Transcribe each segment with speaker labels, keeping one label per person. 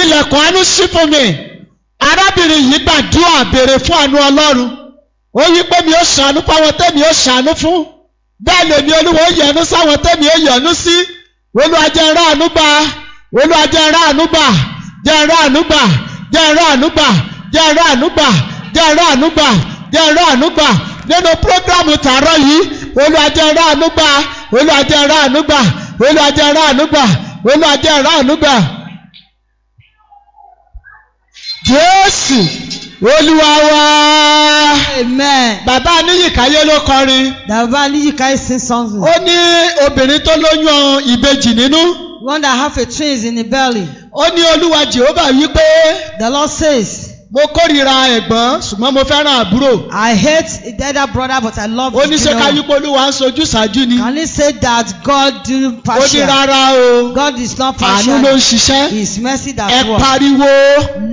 Speaker 1: ilẹ̀kùn àánú ṣí fún mi arábìnrin yìí gbàdúrà béèrè fún àánú ọlọ́run ó yí pé mi ó ṣàánú fáwọn tẹ́mi ó ṣàánú fún bẹ́ẹ̀ lèmi olúwa ó yẹnu sáwọn tẹ́mi ó yẹnu sí olúwa jẹ́ n ráàánú gbà olúwa jẹ́ n ráàánú gbà jẹ́ n ráàánú gbà jẹ́ n ráàánú gbà jẹ́ n ráàánú gbà jẹ́ n ráàánú gbà jẹ́ n ráàánú gbà nínú prógrámù tàárọ̀ yìí olúwa jẹ́ n ráàánú gbà olúwa jẹ́ n ráàánú gbà olúwa jẹ́ n ráàánú gbà olúwa jẹ́ n ráàánú gbà. Jésù Olúwa wá.
Speaker 2: Amen.
Speaker 1: Bàbá Níyì Káyé ló kọrin.
Speaker 2: Baba Niyikai sing something.
Speaker 1: Ó ní obìnrin tó lóyún ìbejì nínú.
Speaker 2: One that have a twins in the belly.
Speaker 1: Ó ní Olúwa Jèhófà wípé
Speaker 2: The Lord says,
Speaker 1: mo kórìíra ẹ̀gbọ́n ṣùgbọ́n mo fẹ́ràn àbúrò.
Speaker 2: I hate the other brother, but I love
Speaker 1: Ó ní
Speaker 2: his
Speaker 1: ṣé ká
Speaker 2: children."
Speaker 1: wípé Olúwa ń sojú ṣáájú ni.
Speaker 2: Can you say that God do
Speaker 1: Ó ní
Speaker 2: partial?
Speaker 1: rárá o.
Speaker 2: God is not
Speaker 1: Àánú ló ń
Speaker 2: partial.
Speaker 1: ṣiṣẹ́.
Speaker 2: His mercy
Speaker 1: Ẹ
Speaker 2: that works.
Speaker 1: pariwo.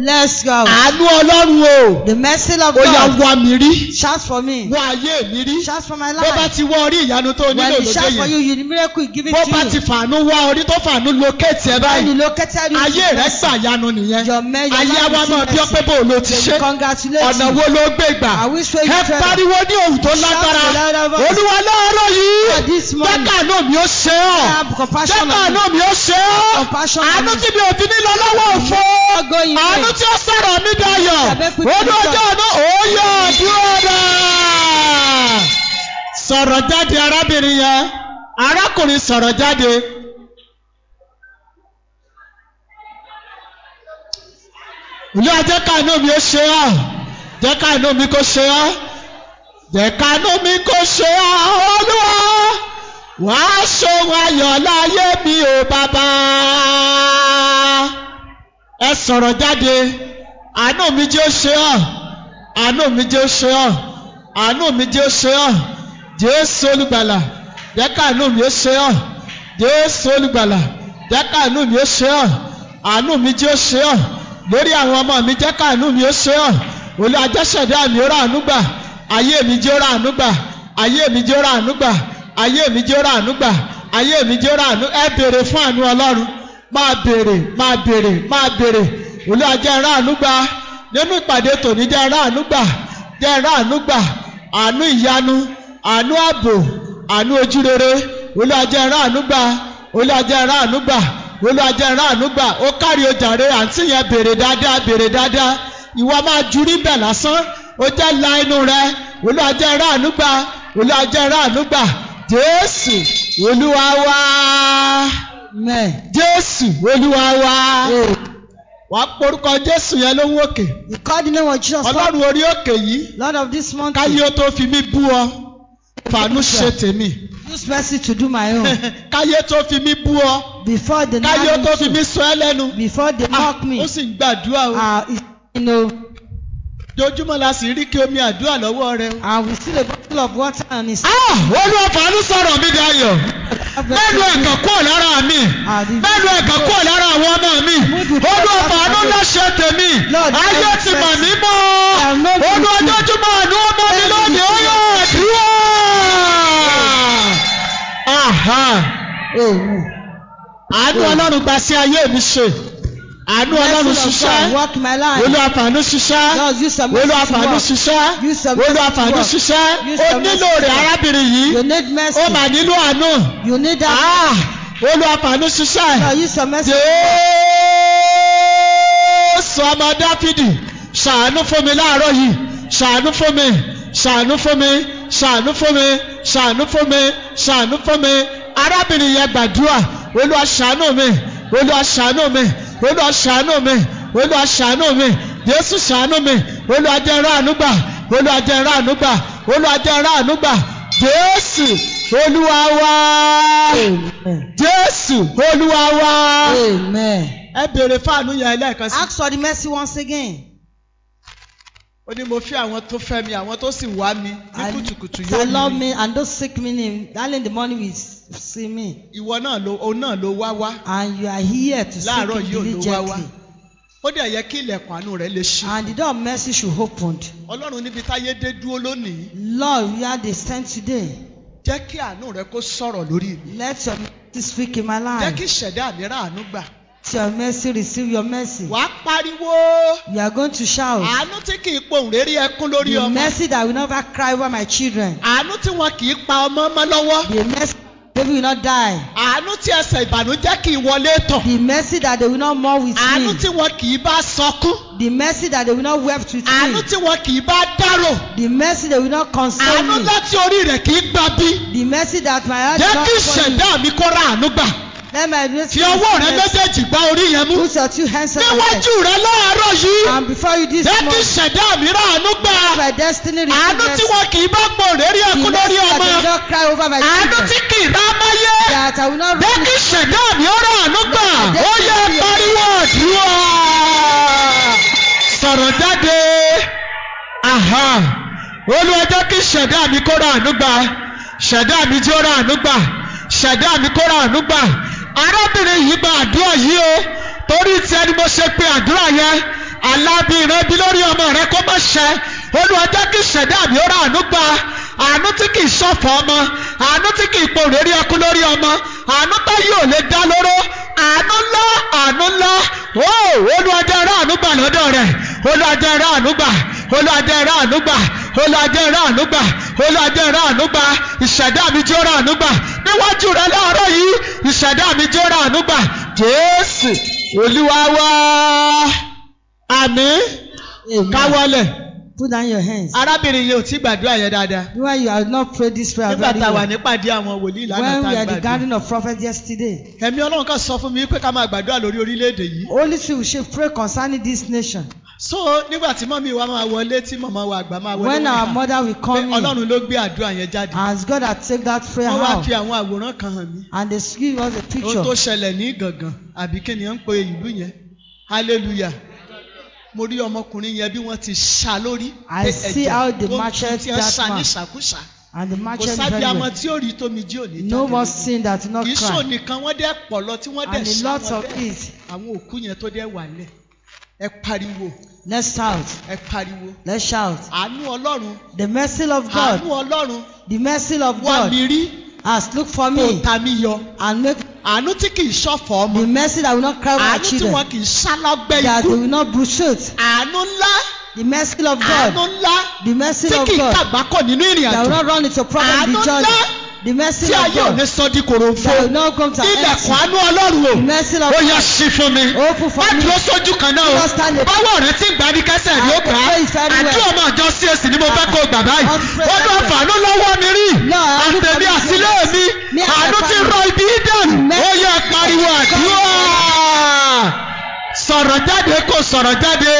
Speaker 2: Let's go.
Speaker 1: Àánú Ọlọ́run o.
Speaker 2: The mercy of
Speaker 1: Ó yá
Speaker 2: God.
Speaker 1: wá mi rí.
Speaker 2: Shout for me.
Speaker 1: Wá ayé mi rí.
Speaker 2: Shout for my
Speaker 1: Bó bá
Speaker 2: life.
Speaker 1: ti wọ orí ìyanu tó nílò
Speaker 2: When he
Speaker 1: lóde
Speaker 2: shout for you,
Speaker 1: yìí.
Speaker 2: you the miracle he give it
Speaker 1: Bó bá ti
Speaker 2: to you.
Speaker 1: fàánú wá orí tó fàánú lókèétì ẹ
Speaker 2: When
Speaker 1: báyìí.
Speaker 2: you located you, with
Speaker 1: ayé
Speaker 2: his
Speaker 1: rẹ
Speaker 2: mercy,
Speaker 1: gbàyanu nìyẹn
Speaker 2: your men, your
Speaker 1: ayé wa máa
Speaker 2: man
Speaker 1: bí
Speaker 2: will see
Speaker 1: ọpẹ́ bò ló ti
Speaker 2: mercy. They
Speaker 1: ṣe
Speaker 2: will congratulate
Speaker 1: ọ̀nà
Speaker 2: you.
Speaker 1: wo ló gbé gbà
Speaker 2: I wish where you
Speaker 1: ẹ
Speaker 2: travel.
Speaker 1: pariwo ní ohùn tó
Speaker 2: Shout
Speaker 1: lágbára
Speaker 2: with loud voice.
Speaker 1: olúwa lọ́ọ̀rọ̀
Speaker 2: Ah,
Speaker 1: yìí
Speaker 2: This morning,
Speaker 1: jẹ́ka àánú mi ó ṣe
Speaker 2: I
Speaker 1: ọ́
Speaker 2: have compassion
Speaker 1: jẹ́ka
Speaker 2: on you.
Speaker 1: àánú mi ó ṣe ọ́
Speaker 2: Compassion on
Speaker 1: àánú
Speaker 2: you.
Speaker 1: tí mi ò fi ní lọ lọ́wọ́ òfo
Speaker 2: Not going
Speaker 1: àánú
Speaker 2: away.
Speaker 1: tí ó sọ̀rọ̀ mi dayọ̀
Speaker 2: Àbẹ́ pípé
Speaker 1: olú
Speaker 2: ìjọ.
Speaker 1: ọjọ́ ọ̀nà òòyọ̀ dúró sọ̀rọ̀ jáde arábìnrin yẹn arákùnrin sọ̀rọ̀ jáde. Ìlú ajẹ́ kàánú mi ó ṣe ọ́. Jẹ́ kàánú mi kó ṣe ọ́. Jẹ́ kàánú mi kó ṣe ọ́. Olúwa wà á ṣòwò ayọ̀ láyé mi ò bàbá. Ẹ sọ̀rọ̀ jáde. Àánú mi jẹ́ ó ṣe ọ́. Àánú mi jẹ́ ó ṣe ọ́. Àánú mi jẹ́ ó ṣe ọ́. Jésù olùgbàlà. Jẹ́ kàánú mi ó ṣe ọ́. Jésù olùgbàlà. Jẹ́ kàánú mi ó ṣe ọ́. Àánú mi jẹ́ ó ṣe ọ́ lórí àwọn ọmọ mi jẹ́ káàánú mi ó ṣe ọ́ olú ajẹ́sẹ̀dá mi ó ràánú gbà ayé mi jẹ́ ó ràánú gbà ayé mi jẹ́ ó ràánú gbà ayé mi jẹ́ ó ràánú gbà ayé mi jẹ́ ó ràánú ẹ béèrè fún àánú ọlọ́run máa béèrè máa béèrè máa béèrè olú ajẹ́ ràánú gbà nínú ìpàdé tòní jẹ́ ràánú gbà jẹ́ ràánú gbà àánú ìyanu àánú ààbò àánú ojúrere olú ajẹ́ ràánú gbà olú ajẹ́ ràánú gbà olùwàjẹ ráàánú gbà ó kárí ojàre àǹtí yẹn béèrè dáadáa béèrè dáadáa ìwọ máa jurí bẹ̀ lásán ó jẹ́ la inú rẹ olùwàjẹ ráàánú gbà olùwàjẹ ráàánú gbà jésù olúwa wá
Speaker 2: Amen.
Speaker 1: jésù olúwa wá
Speaker 2: Hey.
Speaker 1: wàá porúkọ jésù yẹn ló ń wòkè
Speaker 2: You call the name of Jesus, Lord,
Speaker 1: ọlọ́run orí òkè yìí
Speaker 2: Lord of this mountain.
Speaker 1: káyé ó tó fi mí bú ọ fàánú ṣe tèmi
Speaker 2: Use mercy to do my own.
Speaker 1: káyé tó fi mí bú ọ
Speaker 2: Before the
Speaker 1: káyé ó tó
Speaker 2: night,
Speaker 1: fi mí sọ ẹ́ lẹ́nu
Speaker 2: before they
Speaker 1: Ah,
Speaker 2: mock me,
Speaker 1: ó sì ń gbàdúrà o.
Speaker 2: uh, it's- you know,
Speaker 1: Dojúmọ́ la sì rí kí omi àdúrà lọ́wọ́ rẹ.
Speaker 2: I will steal a bottle of water and it's
Speaker 1: Ah, Olúwa fàánú sọ̀rọ̀ mi dayọ̀. Mẹ́nu ẹ̀kàn kúrò lára mi.
Speaker 2: Ah,
Speaker 1: Mẹ́nu ẹ̀kàn kúrò lára àwọn ọmọ mi. Olúwa fàánú láṣẹ tèmi. Ayé ti mọ̀ mí mọ́. Olúwa dojúmọ́ àánú ọmọ mi lónìí ó yọ àdúrà. Aha.
Speaker 2: Oh,
Speaker 1: Àánú Ọlọ́run gba sí ayé mi ṣe. Àánú Ọlọ́run ṣiṣẹ́.
Speaker 2: Walk my life.
Speaker 1: Olúwa fàánú ṣiṣẹ́
Speaker 2: Lord, use your
Speaker 1: olú
Speaker 2: mercy to
Speaker 1: àfààní
Speaker 2: work. You
Speaker 1: ṣiṣẹ́
Speaker 2: submit
Speaker 1: olú
Speaker 2: to
Speaker 1: àfààní
Speaker 2: work.
Speaker 1: ṣiṣẹ́
Speaker 2: You
Speaker 1: ó
Speaker 2: submit
Speaker 1: nílò
Speaker 2: to
Speaker 1: rẹ̀
Speaker 2: work.
Speaker 1: arábìnrin yìí
Speaker 2: You
Speaker 1: ó
Speaker 2: need
Speaker 1: mà
Speaker 2: mercy.
Speaker 1: nílò àánú
Speaker 2: You need that.
Speaker 1: Ah, olú àfààní
Speaker 2: Lord,
Speaker 1: ṣiṣẹ́
Speaker 2: use your mercy.
Speaker 1: jésù ọmọ dáfídì ṣàánú fún mi láàárọ̀ yìí ṣàánú fún mi ṣàánú fún mi ṣàánú fún mi ṣàánú fún mi ṣàánú fún mi arábìnrin yẹn gbàdúrà olúwa ṣàánú mi olúwa ṣàánú mi olúwa ṣàánú mi olúwa ṣàánú mi jésù ṣàánú mi olúwa jẹ́ n ráàánú gbà olúwa jẹ́ n ráàánú gbà olúwa jẹ́ n ráàánú gbà jésù olúwa wá
Speaker 2: Amen.
Speaker 1: jésù olúwa wá
Speaker 2: Amen.
Speaker 1: ẹ béèrè fáànù yẹn lẹ́ẹ̀kan sí.
Speaker 2: Ask for the mercy once again.
Speaker 1: ó ní mo fẹ́ àwọn tó fẹ́ mi àwọn tó sì wá mi ní
Speaker 2: I,
Speaker 1: kùtùkùtù
Speaker 2: I
Speaker 1: yóò
Speaker 2: love
Speaker 1: mi.
Speaker 2: me and don't seek me name. Early in the morning will s- see me.
Speaker 1: ìwọ náà ló òun náà ló wá wá
Speaker 2: And you are here to seek
Speaker 1: Láàárọ̀
Speaker 2: him
Speaker 1: yìí ò ló wá wá.
Speaker 2: diligently.
Speaker 1: ó dẹ̀ yẹ kí ilẹ̀kùn àánú rẹ̀ lè ṣí.
Speaker 2: And the door of mercy should opened.
Speaker 1: ọlọ́run níbi táyé dé dúró lónìí
Speaker 2: Lord, we are the stand today.
Speaker 1: jẹ́ kí àánú rẹ̀ kó sọ̀rọ̀ lórí mi.
Speaker 2: Let your mercy speak in my
Speaker 1: jẹ́ kí
Speaker 2: life.
Speaker 1: ìṣẹ̀dá mi rà àánú gbà
Speaker 2: To your mercy, receive your mercy.
Speaker 1: wàá pariwo
Speaker 2: You are going to shout.
Speaker 1: àánú tí kì í pohùn réré ẹkún lórí
Speaker 2: The
Speaker 1: ọmọ
Speaker 2: mercy that will never cry over my children.
Speaker 1: àánú tí wọn kì í pa ọmọ mọ́ lọ́wọ́
Speaker 2: The mercy they will not die.
Speaker 1: àánú tí ẹsẹ̀ ìbànújẹ́ kì í wọlé tọ̀
Speaker 2: The mercy that they will not mourn with
Speaker 1: àánú
Speaker 2: me.
Speaker 1: tí wọn kì í bá sọkún
Speaker 2: The mercy that they will not wept with
Speaker 1: àánú
Speaker 2: me.
Speaker 1: tí wọn kì í bá dárò
Speaker 2: The mercy they will not console
Speaker 1: àánú
Speaker 2: me.
Speaker 1: láti orí rẹ̀ kì í gba bí
Speaker 2: The mercy that my heart
Speaker 1: jẹ́ kí
Speaker 2: is not for
Speaker 1: ìṣẹ̀dá mi kó ra àánú gbà
Speaker 2: you. Let my mercy
Speaker 1: fi ọwọ́ rẹ
Speaker 2: mercy.
Speaker 1: méjèèjì gbá orí yẹn mú
Speaker 2: Put your two hands on my head.
Speaker 1: níwájú rẹ láàárọ̀ yìí
Speaker 2: And before you this
Speaker 1: jẹ́ kí
Speaker 2: morning,
Speaker 1: ìṣẹ̀dá mi ra àánú gbà
Speaker 2: my destiny receive
Speaker 1: àánú tí
Speaker 2: mercy.
Speaker 1: wọn kì í bá pohùn réré
Speaker 2: The
Speaker 1: ẹkún
Speaker 2: mercy
Speaker 1: lórí
Speaker 2: that
Speaker 1: ọmọ
Speaker 2: they will not cry over my
Speaker 1: àánú
Speaker 2: children.
Speaker 1: tí kì í rá máyé
Speaker 2: That I will not
Speaker 1: jẹ́
Speaker 2: run
Speaker 1: kí ìṣẹ̀dá mi ó ra àánú gbà ó yẹ pariwo àdúrà sọ̀rọ̀ jáde aha olúwa jẹ́ kí ṣẹ̀dá mi kó ra àánú gbà ṣẹ̀dá mi tí ó ra àánú gbà ṣẹ̀dá mi kó ra àánú gbà arábìnrin yìí gba àdúrà yìí o torí tiẹ̀ ni mo ṣe pe àdúrà yẹn alábí ìrẹ́bí lórí ọmọ rẹ kó má ṣẹ olúwa jẹ́ kí ṣẹ̀dá mi ó ra àánú gbà àánú tí kì í ṣọ̀fọ̀ ọmọ àánú tí kì í po òrèrè ẹkún lórí ọmọ àánú tó yóò lè dá lóró àánú ńlá àánú ńlá ó olùwàjẹ rà ànúgbà lọ́dọ̀ rẹ̀ olùwàjẹ rà ànúgbà olùwàjẹ rà ànúgbà olùwàjẹ rà ànúgbà olùwàjẹ rà ànúgbà ìṣẹ̀dá mi tí ó rà ànúgbà níwájú rẹ̀ láàárọ̀ yìí ìṣẹ̀dá mi tí ó rà ànúgbà jésù olúwa wá àmì
Speaker 2: Amen.
Speaker 1: káwọlẹ̀
Speaker 2: Put down your hands.
Speaker 1: arábìnrin yìí ò tí gbàdúrà yẹn dáadáa
Speaker 2: Why you have not prayed this prayer
Speaker 1: nígbà
Speaker 2: very
Speaker 1: tá a wà
Speaker 2: well.
Speaker 1: nípàdé àwọn wòlíì lánàá
Speaker 2: When
Speaker 1: tá
Speaker 2: we
Speaker 1: a
Speaker 2: are the
Speaker 1: gbàdúrà
Speaker 2: gathering of prophets yesterday,
Speaker 1: ẹ̀mí ọlọ́run kan sọ fún mi pé ká máa gbàdúrà lórí orílẹ̀-èdè yìí
Speaker 2: Holy Spirit we should pray concerning this nation.
Speaker 1: so nígbà tí mọ́mí wa máa wọlé tí màmá wa àgbà máa wọlé
Speaker 2: When
Speaker 1: wọ́n
Speaker 2: our
Speaker 1: kà
Speaker 2: mother will
Speaker 1: pé
Speaker 2: come in,
Speaker 1: ọlọ́run ló gbé àdúrà yẹn jáde
Speaker 2: as God had take that prayer
Speaker 1: wọ́n wá
Speaker 2: out
Speaker 1: fi àwọn àwòrán kan hàn mí
Speaker 2: and they give us a
Speaker 1: ohun tó
Speaker 2: picture.
Speaker 1: ṣẹlẹ̀ ní gàngàn àbí kí ni wọ́n ń pe ìlú yẹn hallelujah mo rí ọmọkùnrin yẹn bí wọ́n ti ṣá lórí
Speaker 2: I
Speaker 1: pé
Speaker 2: see
Speaker 1: ẹ̀jẹ̀
Speaker 2: how they
Speaker 1: tó ń
Speaker 2: marched
Speaker 1: tí wọ́n
Speaker 2: that
Speaker 1: ṣá ní
Speaker 2: man.
Speaker 1: ṣàkúṣà
Speaker 2: And the
Speaker 1: kò
Speaker 2: marching very
Speaker 1: sábì àmọ́
Speaker 2: well.
Speaker 1: tí ó rí tómi jí òní
Speaker 2: No more sin that will not
Speaker 1: kì í
Speaker 2: cry.
Speaker 1: sònìkan wọ́n dẹ́ pọ̀ lọ tí wọ́n dẹ́
Speaker 2: And a
Speaker 1: ṣá
Speaker 2: lot
Speaker 1: wọn
Speaker 2: of
Speaker 1: bẹ́ẹ̀.
Speaker 2: it.
Speaker 1: àwọn òkú yẹn tó dẹ́ wà lẹ̀ ẹ pariwo
Speaker 2: Let's shout.
Speaker 1: ẹ pariwo
Speaker 2: Let's shout.
Speaker 1: àánú ọlọ́run
Speaker 2: The mercy of
Speaker 1: àánú
Speaker 2: God,
Speaker 1: ọlọ́run
Speaker 2: the mercy of
Speaker 1: wà mí
Speaker 2: God
Speaker 1: rí
Speaker 2: has looked for
Speaker 1: kó
Speaker 2: me
Speaker 1: ta mí yọ
Speaker 2: and make
Speaker 1: àánú tí kì í ṣọ̀fọ̀ ọmọ
Speaker 2: the mercy that will not cry over our
Speaker 1: àánú tí
Speaker 2: children,
Speaker 1: wọn kì í sá lọ́gbẹ́
Speaker 2: that
Speaker 1: ikú
Speaker 2: they will not bruise.
Speaker 1: àánú ńlá
Speaker 2: The mercy of
Speaker 1: àánú
Speaker 2: God,
Speaker 1: ńlá
Speaker 2: the mercy
Speaker 1: tí
Speaker 2: of
Speaker 1: kì í
Speaker 2: God
Speaker 1: kàgbákò nínú ìrìn
Speaker 2: that
Speaker 1: àjò
Speaker 2: will not run into problem
Speaker 1: Àánú
Speaker 2: with journey.
Speaker 1: ńlá
Speaker 2: The
Speaker 1: tí
Speaker 2: mercy of
Speaker 1: ayé ò ní
Speaker 2: God
Speaker 1: sọ di kòròfo
Speaker 2: that will not come to
Speaker 1: ilẹ̀kùn
Speaker 2: empty.
Speaker 1: àánú ọlọ́run o
Speaker 2: The mercy of
Speaker 1: ó yá
Speaker 2: God
Speaker 1: sí fún mi
Speaker 2: open
Speaker 1: má
Speaker 2: for me.
Speaker 1: dúró sójú kan náà
Speaker 2: Just
Speaker 1: o
Speaker 2: stand there.
Speaker 1: báwo rẹ ti ń gbà ní kẹsẹ̀ ló
Speaker 2: I
Speaker 1: gbà á
Speaker 2: pray very well.
Speaker 1: àdúrà ọmọ àjọ csc ni mo fẹ́ kó o gbà báyìí
Speaker 2: I pray
Speaker 1: wọ́n lọ
Speaker 2: very well.
Speaker 1: fàánú lọ́wọ́ mi rí
Speaker 2: Lord, I pray
Speaker 1: àtẹ̀mí
Speaker 2: for
Speaker 1: àsílẹ̀
Speaker 2: this.
Speaker 1: mi
Speaker 2: Me and my
Speaker 1: àánú ti
Speaker 2: family.
Speaker 1: rọ ibi ìdẹ̀rù
Speaker 2: Amen.
Speaker 1: ó yẹ pariwo àdúrà sọ̀rọ̀ jáde kò sọ̀rọ̀ jáde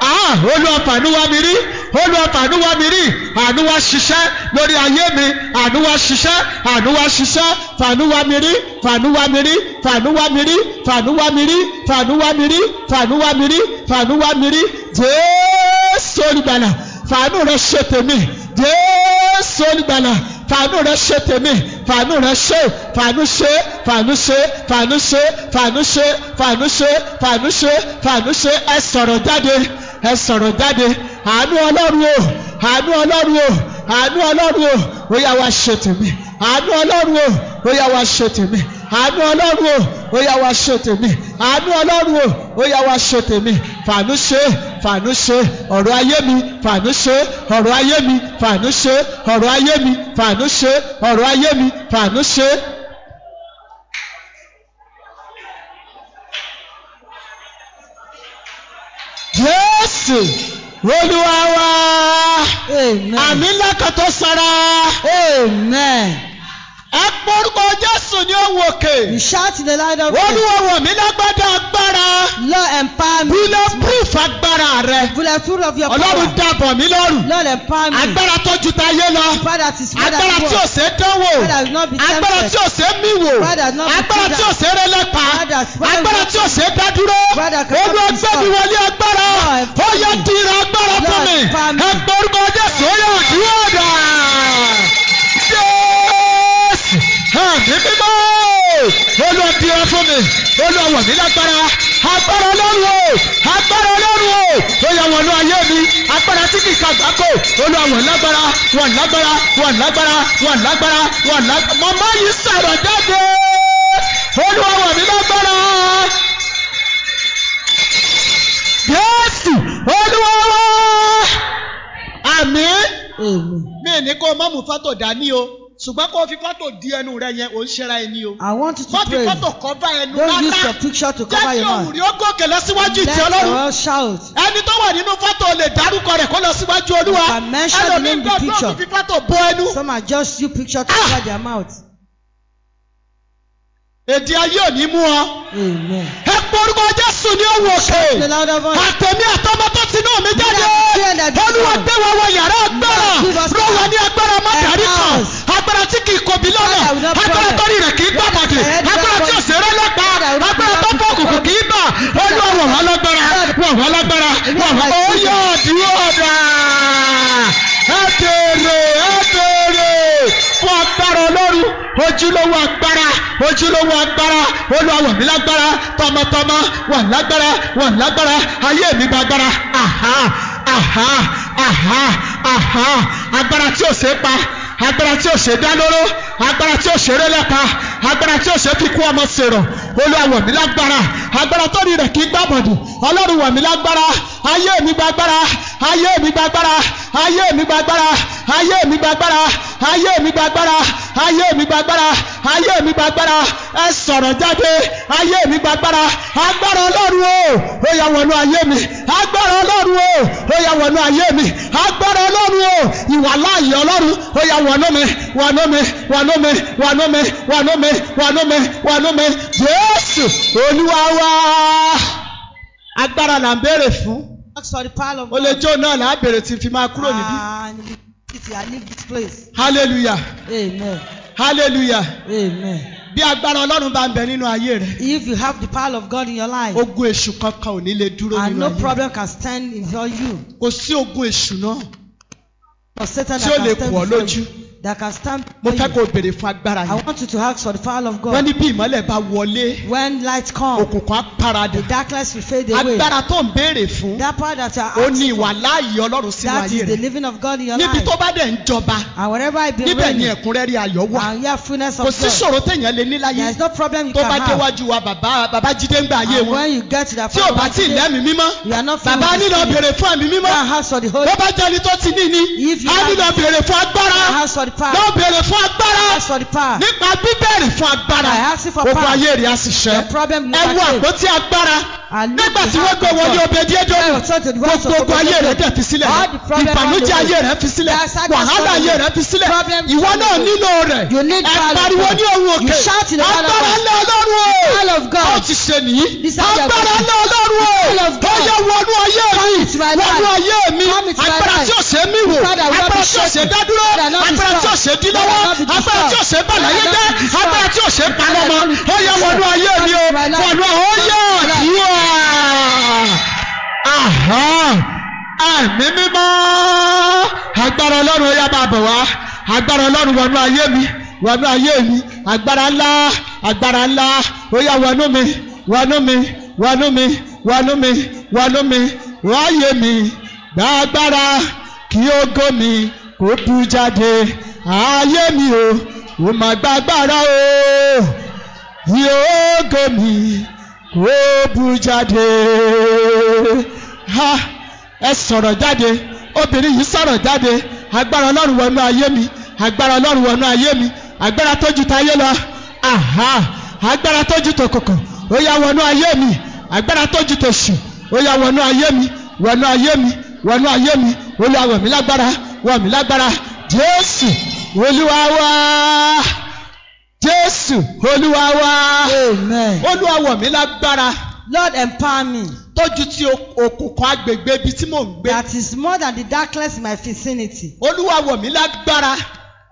Speaker 1: ah olúwa fàánú wá mi rí olúwa fàánú wá mi rí àánú wá ṣiṣẹ́ lórí ayé mi àánú wá ṣiṣẹ́ àánú wá ṣiṣẹ́ fàánú wá mi rí fàánú wá mi rí fàánú wá mi rí fàánú wá mi rí fàánú wá mi rí fàánú wá mi rí fàánú wá mi rí jésù olùgbàlà fàánú rẹ ṣe tèmi jésù olùgbàlà fàánú rẹ ṣe tèmi fàánú rẹ ṣe fàánú ṣe fàánú ṣe fàánú ṣe fàánú ṣe fàánú ṣe fàánú ṣe fàánú ṣe ẹ sọ̀rọ̀ jáde ẹ sọ̀rọ̀ jáde àánú ọlọ́run o àánú ọlọ́run o àánú ọlọ́run o ó yá wá ṣe tèmi àánú ọlọ́run o ó yá wá ṣe tèmi àánú ọlọ́run o ó yá wá ṣe tèmi àánú ọlọ́run o ó yá wá ṣe tèmi fàánú ṣe fàánú ṣe ọ̀rọ̀ ayé mi fàánú ṣe ọ̀rọ̀ ayé mi fàánú ṣe ọ̀rọ̀ ayé mi fàánú ṣe ọ̀rọ̀ ayé mi fàánú ṣe. jésù olúwa wa àmì
Speaker 2: Amen.
Speaker 1: ńlá kan tó sara
Speaker 2: Amen.
Speaker 1: ẹ pórúkọ jésù ní òun òkè
Speaker 2: You shout in the loud of
Speaker 1: olúwa wọ̀ mí lágbádá agbára.
Speaker 2: Lord empower me.
Speaker 1: Bílẹ̀ proof agbára rẹ̀.
Speaker 2: Bulletproof of your
Speaker 1: Ọlọ́run
Speaker 2: power.
Speaker 1: dàbọ̀ mí lọ́rùn.
Speaker 2: Lord empower me.
Speaker 1: Agbára tó ju tayé lọ.
Speaker 2: Father that is father
Speaker 1: Agbára tí ò ṣe é dánwò.
Speaker 2: Father will not be
Speaker 1: Agbára tí
Speaker 2: tempted.
Speaker 1: ò ṣe é mí wò.
Speaker 2: Father, not be
Speaker 1: Agbára tí ò ṣe é rẹ́lẹ́pa.
Speaker 2: Father, Father,
Speaker 1: Agbára tí ò ṣe é dádúró.
Speaker 2: Father, can
Speaker 1: Olú
Speaker 2: not be
Speaker 1: ẹgbẹ́ mi
Speaker 2: stopped.
Speaker 1: wọlé agbára. Ó yẹ
Speaker 2: Lord, empower me.
Speaker 1: dìrọ̀ agbára fún mi.
Speaker 2: Lord, empower me.
Speaker 1: Ẹ gbórúkọ Jésù ó yẹ àdúrà dà. Jésù ẹ̀mí mímọ́. Olú ẹgbẹ́ fún mi. Olú ọwọ́ mi lágbára. Agbára Ọlọ́run o. Agbára Ọlọ́run o. Ó yẹ wọnú ayé mi. Agbára tí kì í ka gbáko. Olú àwọn lágbára. Wọ́n lágbára. Wọ́n lágbára. Wọ́n lágbára. Wọ́n lágbára. Màmá yìí sọ̀rọ̀ jáde. Olú ọwọ́ mi lágbára. má mú fọ́tò dání o ṣùgbọ́n kó o fi fọ́tò di ẹnu rẹ yẹn ò ń ṣera ẹni o
Speaker 2: I want you
Speaker 1: má
Speaker 2: to
Speaker 1: fi
Speaker 2: pray.
Speaker 1: fọ́tò kọ́fà ẹnu
Speaker 2: Don't use your
Speaker 1: rárá
Speaker 2: picture to cover
Speaker 1: jẹ́ kí
Speaker 2: your
Speaker 1: òun
Speaker 2: mouth.
Speaker 1: rí ó gòkè lọ síwájú
Speaker 2: Let
Speaker 1: ìtì
Speaker 2: your
Speaker 1: ọlọ́run
Speaker 2: world shout.
Speaker 1: ẹni tó wà nínú fọ́tò lè dárúkọ rẹ̀ kó lọ síwájú olúwa
Speaker 2: You can mention the name
Speaker 1: ẹlòmíín
Speaker 2: of the
Speaker 1: gbọ́ bí
Speaker 2: picture.
Speaker 1: òun fi fọ́tò bo ẹnu
Speaker 2: Some are just you picture to
Speaker 1: Ah!
Speaker 2: cover their mouth.
Speaker 1: èdè ayé ò ní mú ọ
Speaker 2: Amen.
Speaker 1: ẹ pé orúkọ jésù ní òun òkè
Speaker 2: The louder voice.
Speaker 1: àtẹ̀mí àtọmọ tó ti náà mi jáde
Speaker 2: Three hundred and
Speaker 1: olúwa
Speaker 2: one.
Speaker 1: gbé wa wọ yàrá agbára
Speaker 2: Lord, give us
Speaker 1: ló wà ní agbára mọ́tàrí kan
Speaker 2: Enhance.
Speaker 1: agbára tí kì í kobi lọ́nà
Speaker 2: Father, we don't
Speaker 1: agbára
Speaker 2: problem.
Speaker 1: tó rí rẹ̀ kì í gbà
Speaker 2: Lord,
Speaker 1: mọ̀dì
Speaker 2: I heard you
Speaker 1: agbára tí
Speaker 2: don't
Speaker 1: ò sí rẹ́ lọ́pàá
Speaker 2: Father, we don't
Speaker 1: agbára tó
Speaker 2: problem.
Speaker 1: bọ́ òkùnkùn kì í bà olúwa wọ̀ wá lágbára wọ̀ wá lágbára wọ̀ wá ó yọ ọ̀dúró ọ̀dà ẹ bèrè ẹ bèrè fún agbára ọlọ́run ojúlówó agbára ojúlówó agbára olúwa wọ̀ mí lágbára tọmọtọmọ wọ̀ lágbára wọ̀ lágbára ayé mi gba agbára àhá àhá àhá àhá agbára tí ò ṣe é pa agbára tí ò ṣe é dá lóró agbára tí ò ṣe é rélẹ́pa agbára tí ò ṣe é fi kú ọmọ sèrò olúwa wọ̀ mí lágbára agbára tó rí rẹ̀ kí gbàbọ̀dì ọlọ́run wọ̀ mí lágbára ayé mi gba agbára ayé mi gba agbára ayé mi gba agbára ayé mi gba agbára ayé mi gba agbára ayé mi gba agbára ayé mi gba agbára ẹ sọ̀rọ̀ jáde ayé mi gba agbára agbára ọlọ́run o ó yà wọnú ayé mi agbára ọlọ́run o ó yà wọnú ayé mi agbára ọlọ́run o ìwà láàyè ọlọ́run ó yà wọnú mi wọnú mi wọnú mi wọnú mi wọnú mi wọnú mi wọnú mi jésù olúwa wá agbára là ń béèrè fún
Speaker 2: Ask for the power of
Speaker 1: ó lè jó náà là á béèrè tí n fi máa kúrò níbí
Speaker 2: And we leave it, I leave this place.
Speaker 1: hallelujah
Speaker 2: Amen.
Speaker 1: hallelujah
Speaker 2: Amen.
Speaker 1: bí agbára ọlọ́run bá ń bẹ nínú ayé rẹ
Speaker 2: If you have the power of God in your life,
Speaker 1: ogun èṣù kankan ò ní lè dúró nínú
Speaker 2: and Ah, no
Speaker 1: ayé rẹ.
Speaker 2: problem can stand in front you.
Speaker 1: kò sí ogun èṣù náà
Speaker 2: Or Satan
Speaker 1: Tí ó
Speaker 2: that
Speaker 1: lè
Speaker 2: can
Speaker 1: wọ̀
Speaker 2: stand before
Speaker 1: lójú.
Speaker 2: you. That can stand
Speaker 1: mo fẹ́
Speaker 2: before you.
Speaker 1: kó o béèrè fún agbára
Speaker 2: I
Speaker 1: yẹn
Speaker 2: want you to ask for the power of
Speaker 1: wọ́n
Speaker 2: God.
Speaker 1: ní bí ìmọ́lẹ̀ bá wọlé
Speaker 2: When light comes,
Speaker 1: òkùnkùn á paradà
Speaker 2: the darkness will fade away.
Speaker 1: agbára tó ń béèrè fún
Speaker 2: That power that you are
Speaker 1: ó ní
Speaker 2: asking
Speaker 1: ìwà
Speaker 2: for,
Speaker 1: láàyè ọlọ́run sínú
Speaker 2: that
Speaker 1: ayé
Speaker 2: is
Speaker 1: rẹ
Speaker 2: the living of God in your
Speaker 1: níbi tó
Speaker 2: life.
Speaker 1: bá dẹ̀ ń jọba
Speaker 2: And wherever I be
Speaker 1: níbẹ̀ ni
Speaker 2: reigning,
Speaker 1: ẹ̀kúnrẹ́rẹ́ ayọ̀ wà
Speaker 2: and your fullness
Speaker 1: kò
Speaker 2: of
Speaker 1: sí
Speaker 2: God,
Speaker 1: ṣòro téèyàn lè ní láyé
Speaker 2: there is no problem you
Speaker 1: tó bá
Speaker 2: can have.
Speaker 1: déwájú wa bàbá bàbá jídé ń gbà ayé
Speaker 2: And
Speaker 1: wọn
Speaker 2: when you get to that
Speaker 1: tí ò bá tí ì
Speaker 2: today,
Speaker 1: lẹ́mìí mímọ́
Speaker 2: you are not filled
Speaker 1: bàbá
Speaker 2: with the
Speaker 1: nílò
Speaker 2: Spirit.
Speaker 1: béèrè fún ẹ̀mí
Speaker 2: Go
Speaker 1: mímọ́
Speaker 2: and ask for the Holy
Speaker 1: bó bá jẹ́ ẹni tó ti ní ni
Speaker 2: If you
Speaker 1: á
Speaker 2: have-
Speaker 1: nílò béèrè fún agbára
Speaker 2: I ask for the power.
Speaker 1: lọ béèrè fún agbára
Speaker 2: Ask for the power.
Speaker 1: nípa bíbẹ̀rẹ̀ fún agbára
Speaker 2: I ask you for
Speaker 1: ogun
Speaker 2: power.
Speaker 1: ayé rẹ̀ á sì ṣẹ́
Speaker 2: The problem you
Speaker 1: ẹ wo
Speaker 2: overcame.
Speaker 1: àpótí agbára
Speaker 2: And look
Speaker 1: nígbà
Speaker 2: the
Speaker 1: tí wọ́n
Speaker 2: hand
Speaker 1: gbé
Speaker 2: of
Speaker 1: wọlé
Speaker 2: God.
Speaker 1: obedi
Speaker 2: Tell
Speaker 1: edomu
Speaker 2: us what the words of
Speaker 1: gbogbo ogun ayé rẹ̀
Speaker 2: Obed-Edom.
Speaker 1: dẹ̀ fi sílẹ̀
Speaker 2: All the problem
Speaker 1: ìbànújẹ́
Speaker 2: all the
Speaker 1: ayé rẹ̀ fi sílẹ̀
Speaker 2: There are sadness
Speaker 1: wàhálà
Speaker 2: all the
Speaker 1: ayé
Speaker 2: way.
Speaker 1: rẹ̀ fi sílẹ̀
Speaker 2: Problem
Speaker 1: ìwọ
Speaker 2: all the
Speaker 1: náà
Speaker 2: way.
Speaker 1: nílò rẹ̀
Speaker 2: You need
Speaker 1: ẹ
Speaker 2: power of
Speaker 1: pariwo
Speaker 2: God.
Speaker 1: ní òun
Speaker 2: You
Speaker 1: òkè
Speaker 2: shout in the power of
Speaker 1: agbára
Speaker 2: God.
Speaker 1: ńlá ọlọ́run o
Speaker 2: Power of God.
Speaker 1: ó ti ṣe nìyí
Speaker 2: This is how you are
Speaker 1: agbára
Speaker 2: going.
Speaker 1: ńlá ọlọ́run o
Speaker 2: Power of God.
Speaker 1: ó yẹ wọnú ayé
Speaker 2: Come
Speaker 1: mi
Speaker 2: into my
Speaker 1: wọnú
Speaker 2: life.
Speaker 1: ayé mi
Speaker 2: Come into my
Speaker 1: agbára
Speaker 2: life.
Speaker 1: tí ò ṣe é mí wò
Speaker 2: Father, we are
Speaker 1: agbára
Speaker 2: not
Speaker 1: tí ò ṣe é
Speaker 2: distracted.
Speaker 1: dá dúró
Speaker 2: Father, not
Speaker 1: agbára tí ò ṣe é dí
Speaker 2: distracted.
Speaker 1: lọ́wọ́
Speaker 2: Father, not
Speaker 1: agbára tí ò ṣe é bà
Speaker 2: distracted.
Speaker 1: láyé
Speaker 2: Father,
Speaker 1: jẹ́
Speaker 2: not distracted.
Speaker 1: agbára tí ò ṣe é pa lọ́mọ ó yẹ wọnú ayé mi o
Speaker 2: Father, not
Speaker 1: wọnú ó yẹ
Speaker 2: distracted.
Speaker 1: àdúrà ẹ̀mí mímọ́ agbára ọlọ́run ó yá máa bọ̀ wá agbára ọlọ́run wọnú ayé mi wọnú ayé mi agbára ńlá agbára ńlá ó yá wọnú mi wọnú mi wọnú mi wọnú mi wọnú mi wáyé mi gba agbára kí ògo mi kó bú jáde ayé mi o ó máa gba agbára o kí ògo mi kó bú jáde ha ẹ sọ̀rọ̀ jáde obìnrin yìí sọ̀rọ̀ jáde agbára ọlọ́run wọnú ayé mi agbára ọlọ́run wọnú ayé mi agbára tó ju tayé lọ aha agbára tó ju tòkòkò ó yá wọnú ayé mi agbára tó ju tòṣù ó yá wọnú ayé mi wọnú ayé mi wọnú ayé mi olúwa wọ̀ mí lágbára wọ̀ mí lágbára jésù olúwa wá jésù olúwa wá
Speaker 2: Amen.
Speaker 1: olúwa wọ̀ mí lágbára
Speaker 2: Lord, empower me.
Speaker 1: tó ju ti ok- òkùnkùn agbègbè ibi tí mò ń gbé
Speaker 2: That is more than the darkness in my vicinity.
Speaker 1: olúwa wọ̀ mí lágbára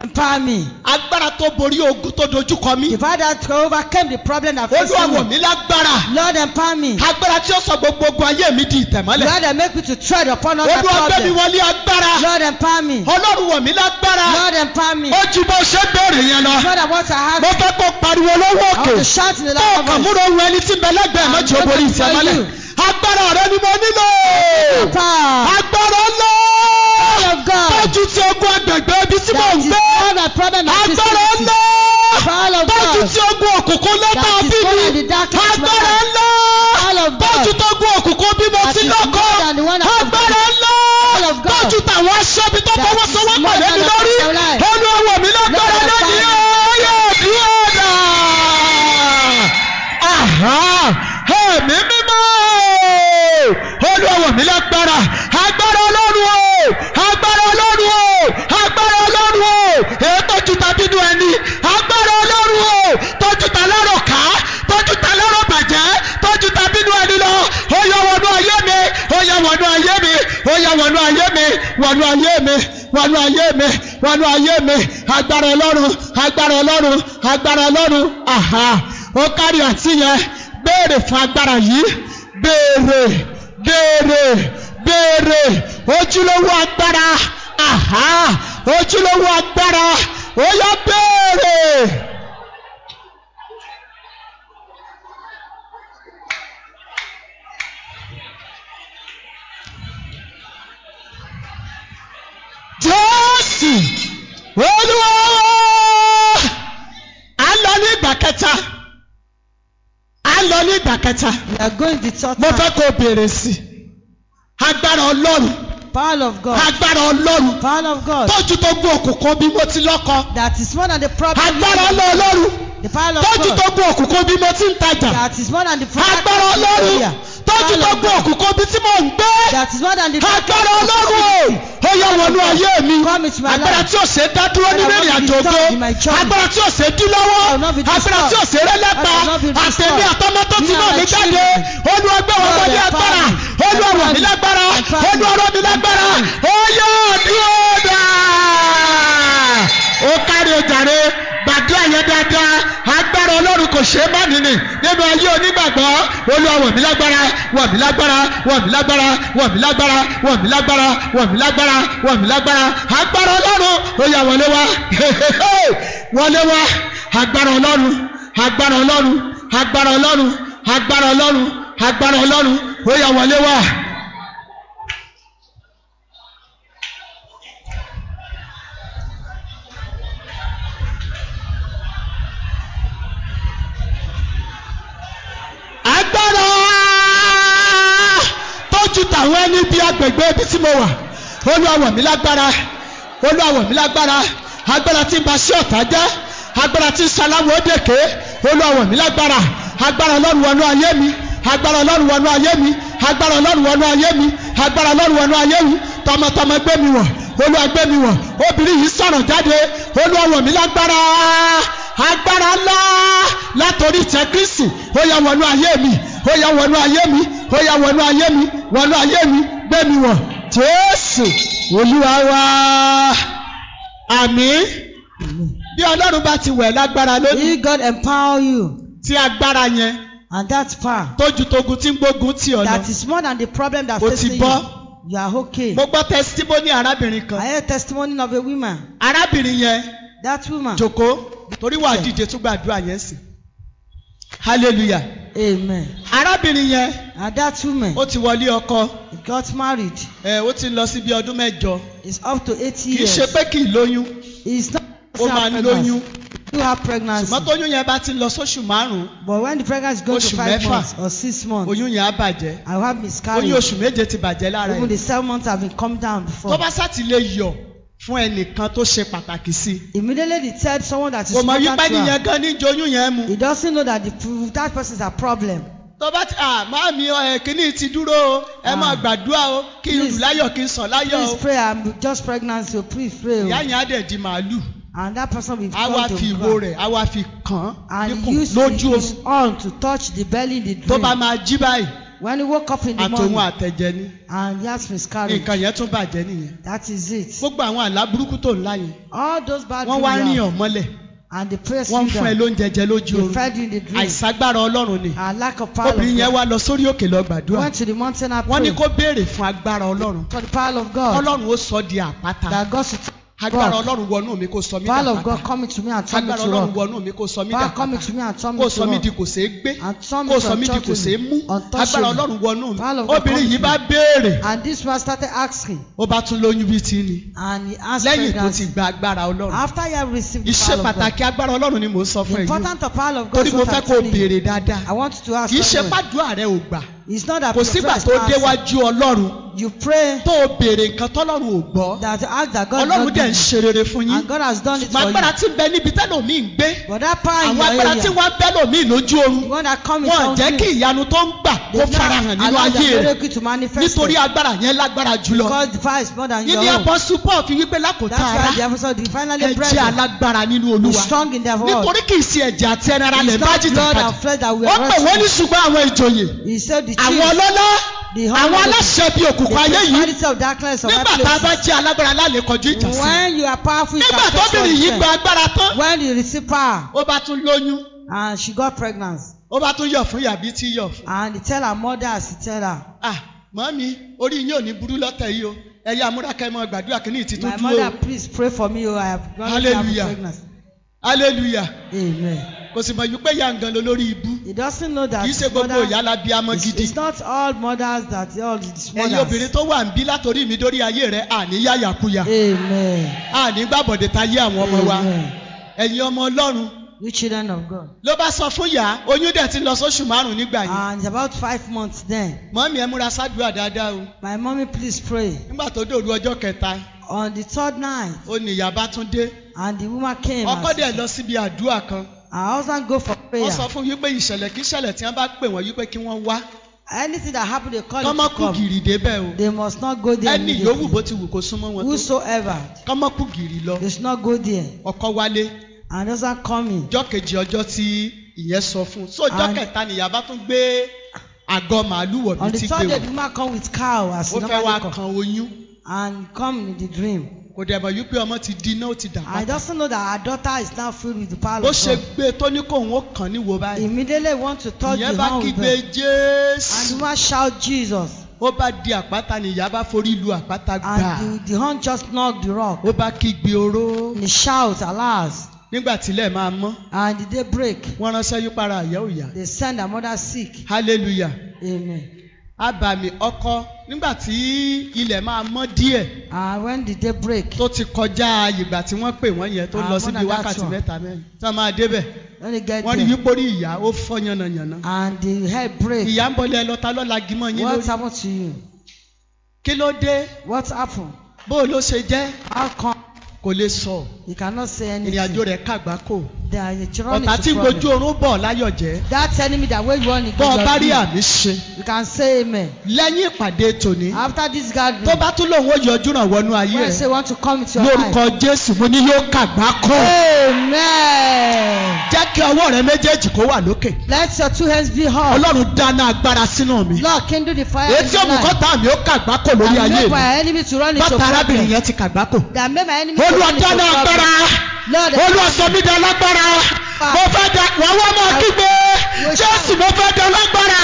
Speaker 2: Empower me.
Speaker 1: agbára tó borí ogun tó dojúkọ mí
Speaker 2: The power that overcame the problem that faced
Speaker 1: olúwa wọ̀
Speaker 2: me.
Speaker 1: mí lágbára
Speaker 2: Lord, empower me.
Speaker 1: agbára tí ó sọ gbogbo ogun ayé mi di ìtẹ̀mọ́lẹ̀
Speaker 2: Lord, and make me to tread upon other
Speaker 1: olúwa gbé mi
Speaker 2: problems.
Speaker 1: wọlé agbára
Speaker 2: Lord, empower me.
Speaker 1: ọlọ́run wọ̀ mí lágbára
Speaker 2: Lord, empower me.
Speaker 1: ó ju bó ṣe béèrè yẹn lọ
Speaker 2: Lord, I want to have.
Speaker 1: mo fẹ́ kó pariwo lọ́wọ́
Speaker 2: I want to
Speaker 1: òkè
Speaker 2: shout in the
Speaker 1: tó
Speaker 2: loud
Speaker 1: kàn
Speaker 2: voice.
Speaker 1: múra ohun ẹni tí ń bẹ lẹ́gbẹ̀ẹ́ mọ́jì ó borí ìtẹ̀mọ́lẹ̀ agbára rẹ ni mo nílò
Speaker 2: Power
Speaker 1: agbára ńlá
Speaker 2: of
Speaker 1: tó
Speaker 2: God.
Speaker 1: ju ti ogun agbègbè ibi tí mò
Speaker 2: That
Speaker 1: ń
Speaker 2: is
Speaker 1: gbé
Speaker 2: more than problem that faced
Speaker 1: agbára
Speaker 2: me.
Speaker 1: ńlá
Speaker 2: Power of
Speaker 1: bọ́ọ̀tù
Speaker 2: God.
Speaker 1: tí ogun òkùnkùn lọ́tà
Speaker 2: That
Speaker 1: bí
Speaker 2: is more than
Speaker 1: mi
Speaker 2: the darkness in my
Speaker 1: agbára
Speaker 2: life.
Speaker 1: ńlá
Speaker 2: All of God.
Speaker 1: bọ́ọ̀tù tó gun òkùnkùn bí mo
Speaker 2: That
Speaker 1: ti
Speaker 2: is
Speaker 1: lọ́kọ́
Speaker 2: more than the one that-
Speaker 1: agbára ńlá
Speaker 2: All of God.
Speaker 1: bọ́ọ̀tù tàwọn aṣọ́bi tó
Speaker 2: That is
Speaker 1: fọwọ́sowọ́pọ̀
Speaker 2: more than
Speaker 1: lẹ́nu
Speaker 2: the
Speaker 1: lórí
Speaker 2: one that-
Speaker 1: ó wọnú ayé mi agbára ọlọ́run agbára ọlọ́run agbára ọlọ́run àhà ó kárí àti yẹn béèrè fún agbára yìí béèrè béèrè béèrè ojúlówó agbára àhà ojúlówó agbára ó yá béèrè. jésù olúwa wa. a lọ ní ìgbà kẹta a lọ ní ìgbà kẹta
Speaker 2: We are going the third
Speaker 1: mo
Speaker 2: time.
Speaker 1: fẹ́ kó o béèrè sí i agbára ọlọ́run
Speaker 2: Power of God.
Speaker 1: agbára ọlọ́run
Speaker 2: Power of God.
Speaker 1: tójú tó gbó òkùnkùn bí mo ti lọ́kọ
Speaker 2: That is more than the problem.
Speaker 1: agbára ọlọ́run
Speaker 2: The power of
Speaker 1: tójú tó
Speaker 2: God.
Speaker 1: gbó òkùnkùn bí mo ti ń tajà
Speaker 2: That is more than the problem.
Speaker 1: agbára ọlọ́run tójú tó gbó òkùnkùn bí tí mò ń gbé
Speaker 2: That is more than the
Speaker 1: agbára ọlọ́run o ó yẹ wọnú ayé mi
Speaker 2: Come into my life.
Speaker 1: agbára tí ò ṣe dá dúró nínú ìrìn àjò ògo
Speaker 2: Agbára tí
Speaker 1: agbára tí ò
Speaker 2: ò ṣe
Speaker 1: ṣe dín lọ́wọ́
Speaker 2: I will not be
Speaker 1: agbára tí ò ṣe rẹ́ lẹ́pa
Speaker 2: I will not be restored.
Speaker 1: àtẹ̀mí àtọmọ tó ti
Speaker 2: Me
Speaker 1: náà
Speaker 2: and
Speaker 1: mi
Speaker 2: my
Speaker 1: jáde
Speaker 2: children.
Speaker 1: olùwàgbẹ́ wọn
Speaker 2: God
Speaker 1: wọlé
Speaker 2: their
Speaker 1: agbára
Speaker 2: family.
Speaker 1: olùwàwọ̀ mi
Speaker 2: Their
Speaker 1: lágbára
Speaker 2: family.
Speaker 1: olùwàrọ̀ mi lágbára ó yẹ ọdúnrà ó kárí ojàre gbàdúrà yẹn dáadáa agbára ọlọ́run kò ṣeé má nìní nínú ayé onígbàgbọ́ olùwàwọ̀ mi lágbára wọ̀ mí lágbára wọ̀ mí lágbára wọ̀ mí lágbára wọ̀ mí lágbára wọ̀ mí lágbára wọ̀ mí lágbára agbára ọlọ́run ó yá wọlé wá wọlé wá agbára ọlọ́run agbára ọlọ́run agbára ọlọ́run agbára ọlọ́run agbára ọlọ́run ó yá wọlé wá. agbára tọ́jú tàwọn ẹni bí agbègbè ibi tí mo wà olúwàwọ̀ mi lágbára olúwàwọ̀ mi lágbára agbára tí ń ba sí ọ̀tá jẹ́ agbára tí ń saláwo òdèké olúwàwọ̀ mi lágbára agbára ọlọ́run wọnú ayé mi agbára ọlọ́run wọnú ayé mi agbára ọlọ́run wọnú ayé mi agbára ọlọ́run wọnú ayé mi tọmọtọmọ gbé mi wọ̀ olúwa gbé mi wọ̀ obìnrin yìí sọ̀rọ̀ jáde olúwàwọ̀ mi lágbára agbára ńlá látòrí ìtẹ́ kristi ó yá wọnú ayé mi ó yá wọnú ayé mi ó yá wọnú ayé mi wọnú ayé mi gbé mi wọ̀ jésù olúwa wa àmín bí ọlọ́run bá ti wẹ̀ lágbára lónìí
Speaker 2: He God empower you.
Speaker 1: tí agbára yẹn
Speaker 2: And that power.
Speaker 1: tójú togun tí ń gbógun tì ọ́ lọ
Speaker 2: That is more than the problem that
Speaker 1: O ti
Speaker 2: facing you.
Speaker 1: bọ́.
Speaker 2: You are okay.
Speaker 1: mo gbọ́ tẹsítímọ́nì arábìnrin kan
Speaker 2: I heard testimony of a woman.
Speaker 1: arábìnrin yẹn
Speaker 2: That woman.
Speaker 1: jòkó torí wàá dìde tún gbàdúrà yẹn sí hallelujah
Speaker 2: Amen.
Speaker 1: arábìnrin yẹn
Speaker 2: And that woman
Speaker 1: ó ti wọlé ọkọ
Speaker 2: got married.
Speaker 1: ẹ ó ti lọ síbi ọdún mẹ́jọ
Speaker 2: It's up to eighty
Speaker 1: kì í
Speaker 2: years.
Speaker 1: ṣe pé kì í lóyún
Speaker 2: It's not.
Speaker 1: ó máa ń lóyún
Speaker 2: You have pregnancy.
Speaker 1: ṣùgbọ́n tóyún yẹn bá ti lọ sóṣù márùn-ún
Speaker 2: But when the pregnancy goes
Speaker 1: Oṣù
Speaker 2: to five
Speaker 1: mẹ́fà.
Speaker 2: months or six months,
Speaker 1: oyún yẹn á bàjẹ́
Speaker 2: I will have
Speaker 1: oyún
Speaker 2: miscarriage.
Speaker 1: oṣù méje ti bàjẹ́ lára
Speaker 2: Even the
Speaker 1: ẹ̀
Speaker 2: seven months have been come down
Speaker 1: tó
Speaker 2: before.
Speaker 1: bá sátìlẹ̀ yọ̀ fún ẹnìkan tó ṣe pàtàkì sí i
Speaker 2: Immediately they tell someone that is
Speaker 1: kò mọ̀
Speaker 2: important
Speaker 1: wípé
Speaker 2: to her.
Speaker 1: nìyẹn gan ní joyún yẹn mu
Speaker 2: He doesn't know that the pro- that person is a problem.
Speaker 1: tó bá ti à máa mi ẹ kíní ti dúró o ẹ máa
Speaker 2: Ah.
Speaker 1: gbàdúrà o kí n lù
Speaker 2: Please.
Speaker 1: láyọ̀ kí n sọ̀ láyọ̀
Speaker 2: Please
Speaker 1: o
Speaker 2: pray. I'm just pregnant, so please pray.
Speaker 1: ìyá
Speaker 2: o.
Speaker 1: yẹn á dẹ̀ di màálù
Speaker 2: And that person will
Speaker 1: á wá
Speaker 2: come to
Speaker 1: fi ìwo
Speaker 2: God.
Speaker 1: rẹ̀ á wá fi kàn án
Speaker 2: And
Speaker 1: níkùn
Speaker 2: he used
Speaker 1: lójú oorun
Speaker 2: his arm to touch the belly in the
Speaker 1: tó bá
Speaker 2: dream.
Speaker 1: máa jí báyìí
Speaker 2: When he woke up in the
Speaker 1: àtòun
Speaker 2: morning
Speaker 1: àtẹ̀jẹ̀ ni
Speaker 2: and he has miscarriage,
Speaker 1: nǹkan yẹn tún bàjẹ́ nìyẹn
Speaker 2: that is it.
Speaker 1: gbogbo àwọn àlá burúkú tó ń lá yẹn
Speaker 2: All those bad
Speaker 1: wọ́n wá
Speaker 2: dreams
Speaker 1: rìn
Speaker 2: you have,
Speaker 1: ọ̀ mọ́lẹ̀
Speaker 2: and the praise
Speaker 1: wọ́n ń
Speaker 2: you
Speaker 1: fún ẹ
Speaker 2: down,
Speaker 1: lóúnjẹ jẹ lójú
Speaker 2: they
Speaker 1: oorun
Speaker 2: fed you in the dream.
Speaker 1: àìsàgbára ọlọ́run ni
Speaker 2: and lack of power of
Speaker 1: obìnrin yẹn
Speaker 2: God.
Speaker 1: wá lọ sórí òkè lọ gbàdúrà
Speaker 2: Went to the mountain and
Speaker 1: wọ́n ní kó
Speaker 2: prayed
Speaker 1: béèrè fún agbára ọlọ́run
Speaker 2: for the power of God.
Speaker 1: ọlọ́run ó sọ di àpáta
Speaker 2: That God should
Speaker 1: agbára
Speaker 2: God.
Speaker 1: ọlọ́run wọnú mi kó sọ mí
Speaker 2: power of God
Speaker 1: dàpáta
Speaker 2: coming to me and turn me
Speaker 1: agbára
Speaker 2: to
Speaker 1: ọlọ́run
Speaker 2: rock.
Speaker 1: wọnú mi kó sọ mí
Speaker 2: Power coming
Speaker 1: dàpáta
Speaker 2: to me and turn
Speaker 1: kó
Speaker 2: me
Speaker 1: sọ
Speaker 2: to
Speaker 1: mí
Speaker 2: rock.
Speaker 1: di kò ṣeé gbé
Speaker 2: And turn me
Speaker 1: kó
Speaker 2: to
Speaker 1: sọ mí di kò ṣeé mú
Speaker 2: untouchable.
Speaker 1: agbára ọlọ́run wọnú mi
Speaker 2: Power of God
Speaker 1: obìnrin yìí
Speaker 2: coming
Speaker 1: bá
Speaker 2: to me.
Speaker 1: béèrè
Speaker 2: And this man started asking
Speaker 1: ó bá tún lóyún bíi ti ni
Speaker 2: and he asked
Speaker 1: lẹ́yìn tó ti
Speaker 2: pregnancy.
Speaker 1: gba agbára ọlọ́run
Speaker 2: After he had received the
Speaker 1: iṣẹ́
Speaker 2: power of God.
Speaker 1: pàtàkì agbára ọlọ́run ni mò ń sọ
Speaker 2: The
Speaker 1: fún ẹ yìí
Speaker 2: important of power of God
Speaker 1: torí
Speaker 2: is
Speaker 1: mo
Speaker 2: what
Speaker 1: fẹ́
Speaker 2: I'm
Speaker 1: kó o
Speaker 2: telling you.
Speaker 1: béèrè dáadáa
Speaker 2: I want you to ask
Speaker 1: kì í ṣe
Speaker 2: someone.
Speaker 1: pàdúrà rẹ ò gbà
Speaker 2: It's not that
Speaker 1: kò
Speaker 2: your
Speaker 1: sígbà
Speaker 2: prayer is
Speaker 1: tó
Speaker 2: not answered.
Speaker 1: déwájú ọlọ́run
Speaker 2: You pray
Speaker 1: tó o béèrè nǹkan tọ́lọ́run ò gbọ́
Speaker 2: that you ask that God
Speaker 1: ọlọ́run
Speaker 2: will
Speaker 1: dẹ̀ ń ṣe rere fún yín
Speaker 2: and God has done it
Speaker 1: mà
Speaker 2: for
Speaker 1: agbára
Speaker 2: you.
Speaker 1: tí ń bẹ níbi tẹ́lòmíì ń gbé
Speaker 2: But that power
Speaker 1: àwọn
Speaker 2: in your
Speaker 1: agbára tí
Speaker 2: area,
Speaker 1: wọ́n bẹ́ lòmíì lójú oorun
Speaker 2: the one that comes
Speaker 1: wọn ò
Speaker 2: in
Speaker 1: jẹ́ kí ìyanu tó ń gbà kó
Speaker 2: They've not
Speaker 1: farahàn nínú
Speaker 2: allowed
Speaker 1: ayé
Speaker 2: their
Speaker 1: rẹ̀
Speaker 2: miracle to manifest
Speaker 1: nítorí
Speaker 2: it
Speaker 1: agbára yẹn lágbára jùlọ
Speaker 2: because the fire is more than your
Speaker 1: ìní
Speaker 2: own.
Speaker 1: apọ́sù paul fi wípé lákòótá
Speaker 2: That's
Speaker 1: ara
Speaker 2: why the apostle did
Speaker 1: ẹ
Speaker 2: finally
Speaker 1: jẹ́
Speaker 2: bread
Speaker 1: alágbára nínú
Speaker 2: be
Speaker 1: olúwa
Speaker 2: strong in their word.
Speaker 1: nítorí kì í ṣe ẹ̀jẹ̀ àti ẹran ara lẹ̀
Speaker 2: It's
Speaker 1: bá
Speaker 2: not
Speaker 1: jìtà
Speaker 2: blood
Speaker 1: padà
Speaker 2: and flesh that we
Speaker 1: ó
Speaker 2: are
Speaker 1: pè wọ́n ní
Speaker 2: wrestling.
Speaker 1: ṣùgbọ́n àwọn ìjòyè
Speaker 2: He said the
Speaker 1: àwọn
Speaker 2: chief,
Speaker 1: ọlọ́lá
Speaker 2: the
Speaker 1: àwọn
Speaker 2: whole
Speaker 1: aláṣẹ bí
Speaker 2: the
Speaker 1: òkùnkùn ayé yìí
Speaker 2: principality of darkness of
Speaker 1: nígbà
Speaker 2: that
Speaker 1: tá a bá
Speaker 2: place.
Speaker 1: jẹ́ alágbára lálẹ́ kọjú ìjà sí i.
Speaker 2: when you are powerful you
Speaker 1: nígbà
Speaker 2: can control
Speaker 1: tóbìnrin yìí
Speaker 2: yourself.
Speaker 1: gba agbára tán
Speaker 2: when you receive power
Speaker 1: ó bá tún lóyún
Speaker 2: and she got pregnant
Speaker 1: ó bá tún yọ̀ fún yàbí tí yọ̀ fún.
Speaker 2: and he tell her mother as he tell her
Speaker 1: ah mọ́mí orí yín ò ní burú lọ́tẹ̀ yìí o ẹ̀yà amúrakẹ́ mọ́ gbàdúrà kínní ìtì tó
Speaker 2: my
Speaker 1: dúró
Speaker 2: mother please pray for me o i have gone through having
Speaker 1: Hallelujah.
Speaker 2: pregnant
Speaker 1: hallelujah
Speaker 2: amen
Speaker 1: kò sì mọ̀ yìí pé ìyá ngan ló lórí ibú
Speaker 2: he doesn't know that
Speaker 1: kì í ṣe gbogbo ìyá la bí amọ́
Speaker 2: it's,
Speaker 1: gidi
Speaker 2: it's not all mothers that all these
Speaker 1: ẹ̀yin obìnrin
Speaker 2: mothers
Speaker 1: tó wà ń bí látòrí mi dórí ayé rẹ̀ àní yáyàkuyà
Speaker 2: amen
Speaker 1: àní gbàbọ̀dé ta yé àwọn ọmọ wa
Speaker 2: amen
Speaker 1: ẹ̀yin ọmọ ọlọ́run
Speaker 2: you children of God
Speaker 1: ló bá sọ fún yà oyún dẹ̀ ti lọ sóṣù márùn-ún nígbà yìí
Speaker 2: and it's about five months then
Speaker 1: mọ́mí ẹ múra sádùúrà dáadáa o
Speaker 2: my mommy please pray
Speaker 1: nígbà tó dòru ọjọ́ kẹta
Speaker 2: on the third night
Speaker 1: ó ní ìyá bá tún dé
Speaker 2: and the woman came
Speaker 1: ọkọ
Speaker 2: and
Speaker 1: dẹ̀ lọ síbi àdúrà kan
Speaker 2: her husband go for prayer
Speaker 1: wọ́n sọ fún wípé ìṣẹ̀lẹ̀ kí ìṣẹ̀lẹ̀ tí wọ́n bá pè wọ́n wípé kí wọ́n wá
Speaker 2: anything that happen they call him to
Speaker 1: kọ́mọ́kù
Speaker 2: come
Speaker 1: gìrì débẹ̀ o
Speaker 2: they must not go there
Speaker 1: ẹni yòówù
Speaker 2: immediately
Speaker 1: bó ti wù kó súnmọ́ wọn tó
Speaker 2: whosoever
Speaker 1: kọ́mọ́kù gìrì lọ
Speaker 2: they should not go there
Speaker 1: ọkọ wálé
Speaker 2: and husband coming
Speaker 1: ọjọ́ kejì ọjọ́ tí ìyẹn sọ fún un sóòjọ́
Speaker 2: And-
Speaker 1: kẹta nìyá bá tún gbé àgọ́ màálù
Speaker 2: on
Speaker 1: wọ̀bí
Speaker 2: the
Speaker 1: tí gbé
Speaker 2: third day the
Speaker 1: wọn
Speaker 2: woman come with cow as
Speaker 1: ó
Speaker 2: she
Speaker 1: fẹ́ wá
Speaker 2: normally come
Speaker 1: kan oyún
Speaker 2: and come in the dream
Speaker 1: kò dẹ̀ mọ̀ wípé ọmọ ti di iná ó ti dà
Speaker 2: i
Speaker 1: pátá
Speaker 2: just know that her daughter is now filled with the power
Speaker 1: bó
Speaker 2: of
Speaker 1: ṣe
Speaker 2: God
Speaker 1: gbé e tó ní kóun ó kàn níwò báyìí
Speaker 2: immediately want to touch
Speaker 1: ìyẹn
Speaker 2: the
Speaker 1: bá
Speaker 2: hand with
Speaker 1: kígbe
Speaker 2: her and the
Speaker 1: jésù
Speaker 2: woman shout Jesus
Speaker 1: ó bá di àpáta nìyá bá forí lu àpáta gbà
Speaker 2: and the the horn just knock the rock
Speaker 1: ó bá kígbe oró.
Speaker 2: and he shout alas
Speaker 1: nígbà tílẹ̀ máa mọ́
Speaker 2: and the day break
Speaker 1: wọ́n ránṣẹ́ yí para àyẹ́ òyà
Speaker 2: they send her mother sick
Speaker 1: hallelujah
Speaker 2: amen
Speaker 1: abàmì ọkọ nígbà tí ilẹ̀ máa mọ́ díẹ̀
Speaker 2: and when the day break
Speaker 1: tó ti kọjá ìgbà tí wọ́n pè wọ́n yẹn tó lọ
Speaker 2: Ah,
Speaker 1: síbi
Speaker 2: mother, that's
Speaker 1: wákàtí
Speaker 2: all.
Speaker 1: mẹ́ta mẹ́rin tá a máa débẹ̀
Speaker 2: when they get
Speaker 1: wọ́n rí
Speaker 2: there
Speaker 1: wípé orí ìyá ó fọ́ yánnayànna
Speaker 2: and the head break
Speaker 1: ìyá ń bọ́lẹ̀ lọ́ta lọ́la gímọ̀ yín
Speaker 2: what
Speaker 1: lórí
Speaker 2: happen to you
Speaker 1: kí ló dé
Speaker 2: what happen
Speaker 1: bó ló ṣe jẹ́
Speaker 2: how come
Speaker 1: kò lè sọ
Speaker 2: you cannot say
Speaker 1: ìrìn àjò
Speaker 2: anything
Speaker 1: rẹ̀ kàgbákò
Speaker 2: there is
Speaker 1: ọ̀tá
Speaker 2: a running
Speaker 1: tí
Speaker 2: to
Speaker 1: gbojú
Speaker 2: problem
Speaker 1: oorun bọ̀ láyọ̀ jẹ́
Speaker 2: that enemy that wey you wan
Speaker 1: bọ́ ọ bá
Speaker 2: ignore
Speaker 1: rí
Speaker 2: you
Speaker 1: àmì ṣe
Speaker 2: you can say amen
Speaker 1: lẹ́yìn ìpàdé tòní
Speaker 2: after this gathering
Speaker 1: tó bá tún lòun ó yọjú ràn wọnú ayé
Speaker 2: when
Speaker 1: rẹ̀.
Speaker 2: say want to come with your
Speaker 1: lórúkọ
Speaker 2: life
Speaker 1: jésù mo ní yóò kàgbá kọ.
Speaker 2: amen
Speaker 1: jẹ́ kí ọwọ́ rẹ méjèèjì kó wà lókè.
Speaker 2: let your two hands be up
Speaker 1: ọlọ́run dáná agbára sínú mi.
Speaker 2: lord kindle the fire in
Speaker 1: etí
Speaker 2: your life
Speaker 1: òmùkọ́ta mi ó kàgbá kọ lórí
Speaker 2: and
Speaker 1: ayé
Speaker 2: make
Speaker 1: mi.
Speaker 2: my enemy to run into
Speaker 1: bàtà arábìnrin
Speaker 2: problem
Speaker 1: yẹn ti kàgbá kọ.
Speaker 2: that make my enemy to
Speaker 1: olúwa
Speaker 2: run into
Speaker 1: dáná agbára.
Speaker 2: problem lord
Speaker 1: olúwa sọ mí dáná agbára. mo fẹ́ da wọ́n wọ́n máa kígbe. jésù mo fẹ́ dáná agbára.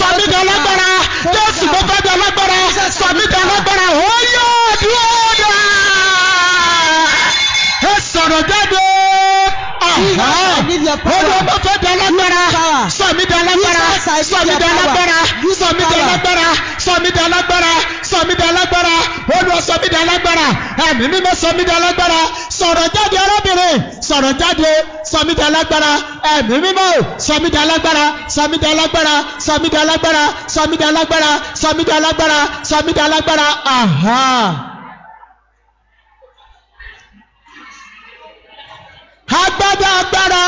Speaker 1: sọ mí dáná agbára. jésù mo fẹ́ dáná agbára. sọ mí dáná agbára. ó yọ dúró dáa ẹ sọ̀rọ̀ jáde.
Speaker 2: Jesus, I need your power.
Speaker 1: Olúwa bá fẹ́ da lágbára.
Speaker 2: power.
Speaker 1: Sọ̀mí da lágbára.
Speaker 2: Jesus, I need
Speaker 1: Sọ̀mí
Speaker 2: your
Speaker 1: da
Speaker 2: power.
Speaker 1: lágbára.
Speaker 2: Use
Speaker 1: Sọ̀mí da
Speaker 2: power.
Speaker 1: lágbára. Sọ̀mí da lágbára. Sọ̀mí da lágbára. Olúwa sọ̀mí da lágbára. Ẹ̀mí mímọ́ sọ̀mí da lágbára. Sọ̀rọ̀ jáde arábìnrin. Sọ̀rọ̀ jáde. Sọ̀mí da lágbára. Ẹ̀mí mímọ́ o. Sọ̀mí da lágbára. Sọ̀mí da lágbára. Sọ̀mí da lágbára. Sọ̀mí da lágbára. Sọ̀mí da lágbára. Sọ̀mí da lágbára. Aha. agbada agbára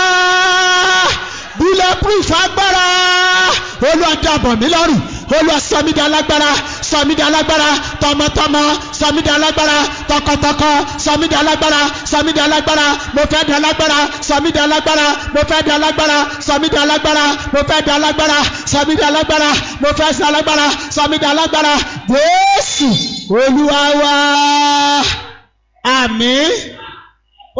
Speaker 1: bulletproof agbára olùwàdàbọ̀ mi lọ́rùn olùwàsọmídà alágbára sọmídà alágbára tọmọtọmọ sọmídà alágbára tọkọtọkọ sọmídà alágbára sọmídà alágbára mo fẹ́ dà alágbára sọmídà alágbára mo fẹ́ dà alágbára sọmídà alágbára mo fẹ́ dà alágbára sọmídà alágbára mo fẹ́ dà alágbára sọmídà alágbára jésù olúwa wa àmín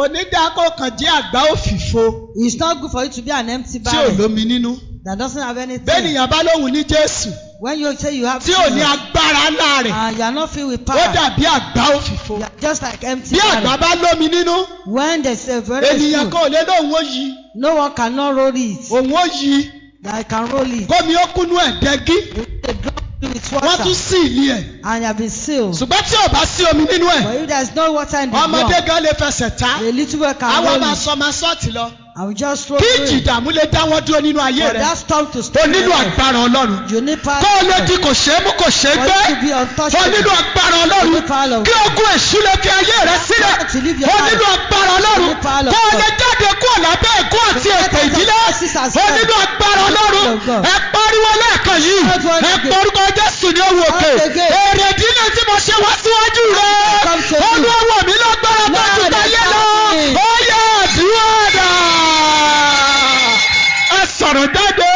Speaker 1: onídàákọ̀ kan jẹ́ àgbá òfìfo
Speaker 2: it's not good for you to be an empty
Speaker 1: tí ò
Speaker 2: barrel
Speaker 1: lómi nínú.
Speaker 2: that doesn't have anything
Speaker 1: bẹ́ẹ̀nìyàn bá lóhùn ní jésù
Speaker 2: when you say you have
Speaker 1: tí ò ní agbára ńlá rẹ̀
Speaker 2: and you are not filled with
Speaker 1: ó
Speaker 2: power
Speaker 1: dàbí àgbá òfìfo.
Speaker 2: you are just like empty
Speaker 1: bí àgbá
Speaker 2: barrel
Speaker 1: bá lómi nínú
Speaker 2: when there is a very
Speaker 1: ènìyàn
Speaker 2: full
Speaker 1: kan ò lè lóhùn ó yí
Speaker 2: no one cannot roll it
Speaker 1: òhun ó yí
Speaker 2: that can roll it
Speaker 1: gómi ó kúnú ẹ̀ dẹ́gí
Speaker 2: they drop you with
Speaker 1: wọ́n
Speaker 2: water
Speaker 1: tún sí ìlí ẹ̀.
Speaker 2: and you have been sealed
Speaker 1: ṣùgbọ́n tí ò bá sí omi nínú ẹ̀
Speaker 2: but if there is no water in the
Speaker 1: ọmọdé
Speaker 2: drum
Speaker 1: gan lè fẹsẹ̀ ta
Speaker 2: a little boy can
Speaker 1: àwọn
Speaker 2: roll
Speaker 1: máa
Speaker 2: it
Speaker 1: sọ máa sọ́ọ̀tì lọ
Speaker 2: and we just throw
Speaker 1: kí
Speaker 2: through
Speaker 1: ìjì
Speaker 2: it
Speaker 1: ìdààmú lè dá wọn dúró nínú ayé
Speaker 2: for
Speaker 1: rẹ
Speaker 2: that storm to
Speaker 1: o
Speaker 2: stop
Speaker 1: nílò
Speaker 2: there
Speaker 1: agbára ọlọ́run
Speaker 2: you need power
Speaker 1: kó o lè di kò ṣeé mú kò ṣeé
Speaker 2: for
Speaker 1: gbé
Speaker 2: you to
Speaker 1: ó
Speaker 2: be
Speaker 1: nínú
Speaker 2: untouchable
Speaker 1: agbára ọlọ́run kí ogun èṣù lè fi ayé rẹ sílẹ̀ ó nínú agbára ọlọ́run kó o lè jáde kúrò lábẹ́ ẹ̀kọ́ àti ètò ìdílé ó nínú agbára ọlọ́run ẹ pariwo lẹ́ẹ̀kan yìí ẹ porúkọ jésù ní owó òkè èrè ìdílé tí mo ṣe wá síwájú rẹ olúwo mi lágbára bá ti tayé lọ ó yẹ àdúrà dà ẹ sọ̀rọ̀ jáde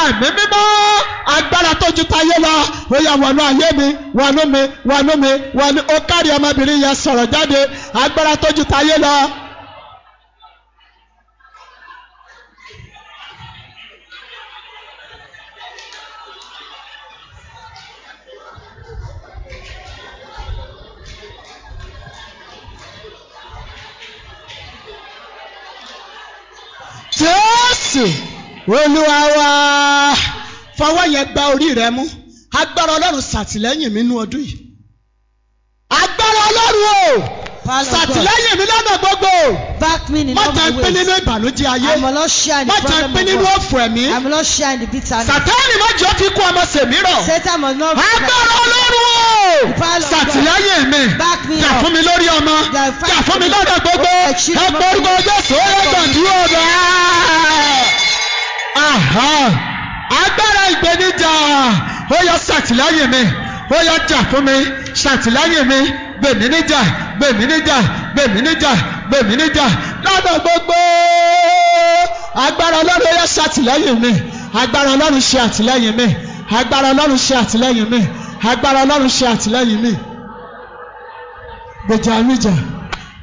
Speaker 1: ẹ̀mí mímọ́ agbára tó ju tayé lọ ó yá wọnú ayé mi wọnú mi wọnú mi wọnú ó kárí ọmọbìnrin yẹn sọ̀rọ̀ jáde agbára tó ju tayé lọ. jésù olúwa wa fọwọ́ yẹn gba orí rẹ mú agbára ọlọ́run ṣàtìlẹ́yìn mi nú ọdún yìí agbára ọlọ́run o
Speaker 2: Power of God.
Speaker 1: ṣàtìlẹ́yìn mi lọ́nà gbogbo
Speaker 2: Back me in
Speaker 1: má ta
Speaker 2: all my
Speaker 1: pín nínú
Speaker 2: ways.
Speaker 1: ìbànújẹ́ ayé
Speaker 2: I will not share in the
Speaker 1: má ta
Speaker 2: problem
Speaker 1: pín nínú
Speaker 2: of God.
Speaker 1: òfò ẹ̀mí
Speaker 2: I will not share in the bitterness.
Speaker 1: sàtáànì má jọ fi kú ọmọ sèmíràn
Speaker 2: Satan must not
Speaker 1: agbára ọlọ́run o
Speaker 2: Power of God.
Speaker 1: ṣàtìlẹ́yìn mi
Speaker 2: Back me
Speaker 1: jà
Speaker 2: up.
Speaker 1: fún mi lórí ọmọ
Speaker 2: Jà fún-
Speaker 1: jà fún mi lọ́dọ̀ gbogbo
Speaker 2: Ó
Speaker 1: ẹ
Speaker 2: yẹ kí ọmọ
Speaker 1: pé orúkọ jésù ó yẹ kàn kí ọ̀dọ̀ agbára ìgbénijà ó yẹ ṣàtìlẹ́yìn mi ó yẹ jà fún mi ṣàtìlẹ́yìn mi gbèmí níjà gbèmí níjà gbèmí níjà gbèmí níjà lọ́dọ̀ gbogbo agbára ọlọ́run ó yẹ ṣàtìlẹ́yìn mi agbára ọlọ́run ṣe àtìlẹ́yìn mi agbára ọlọ́run ṣe àtìlẹ́yìn mi agbára ọlọ́run ṣe àtìlẹ́yìn mi gbèjàmíjà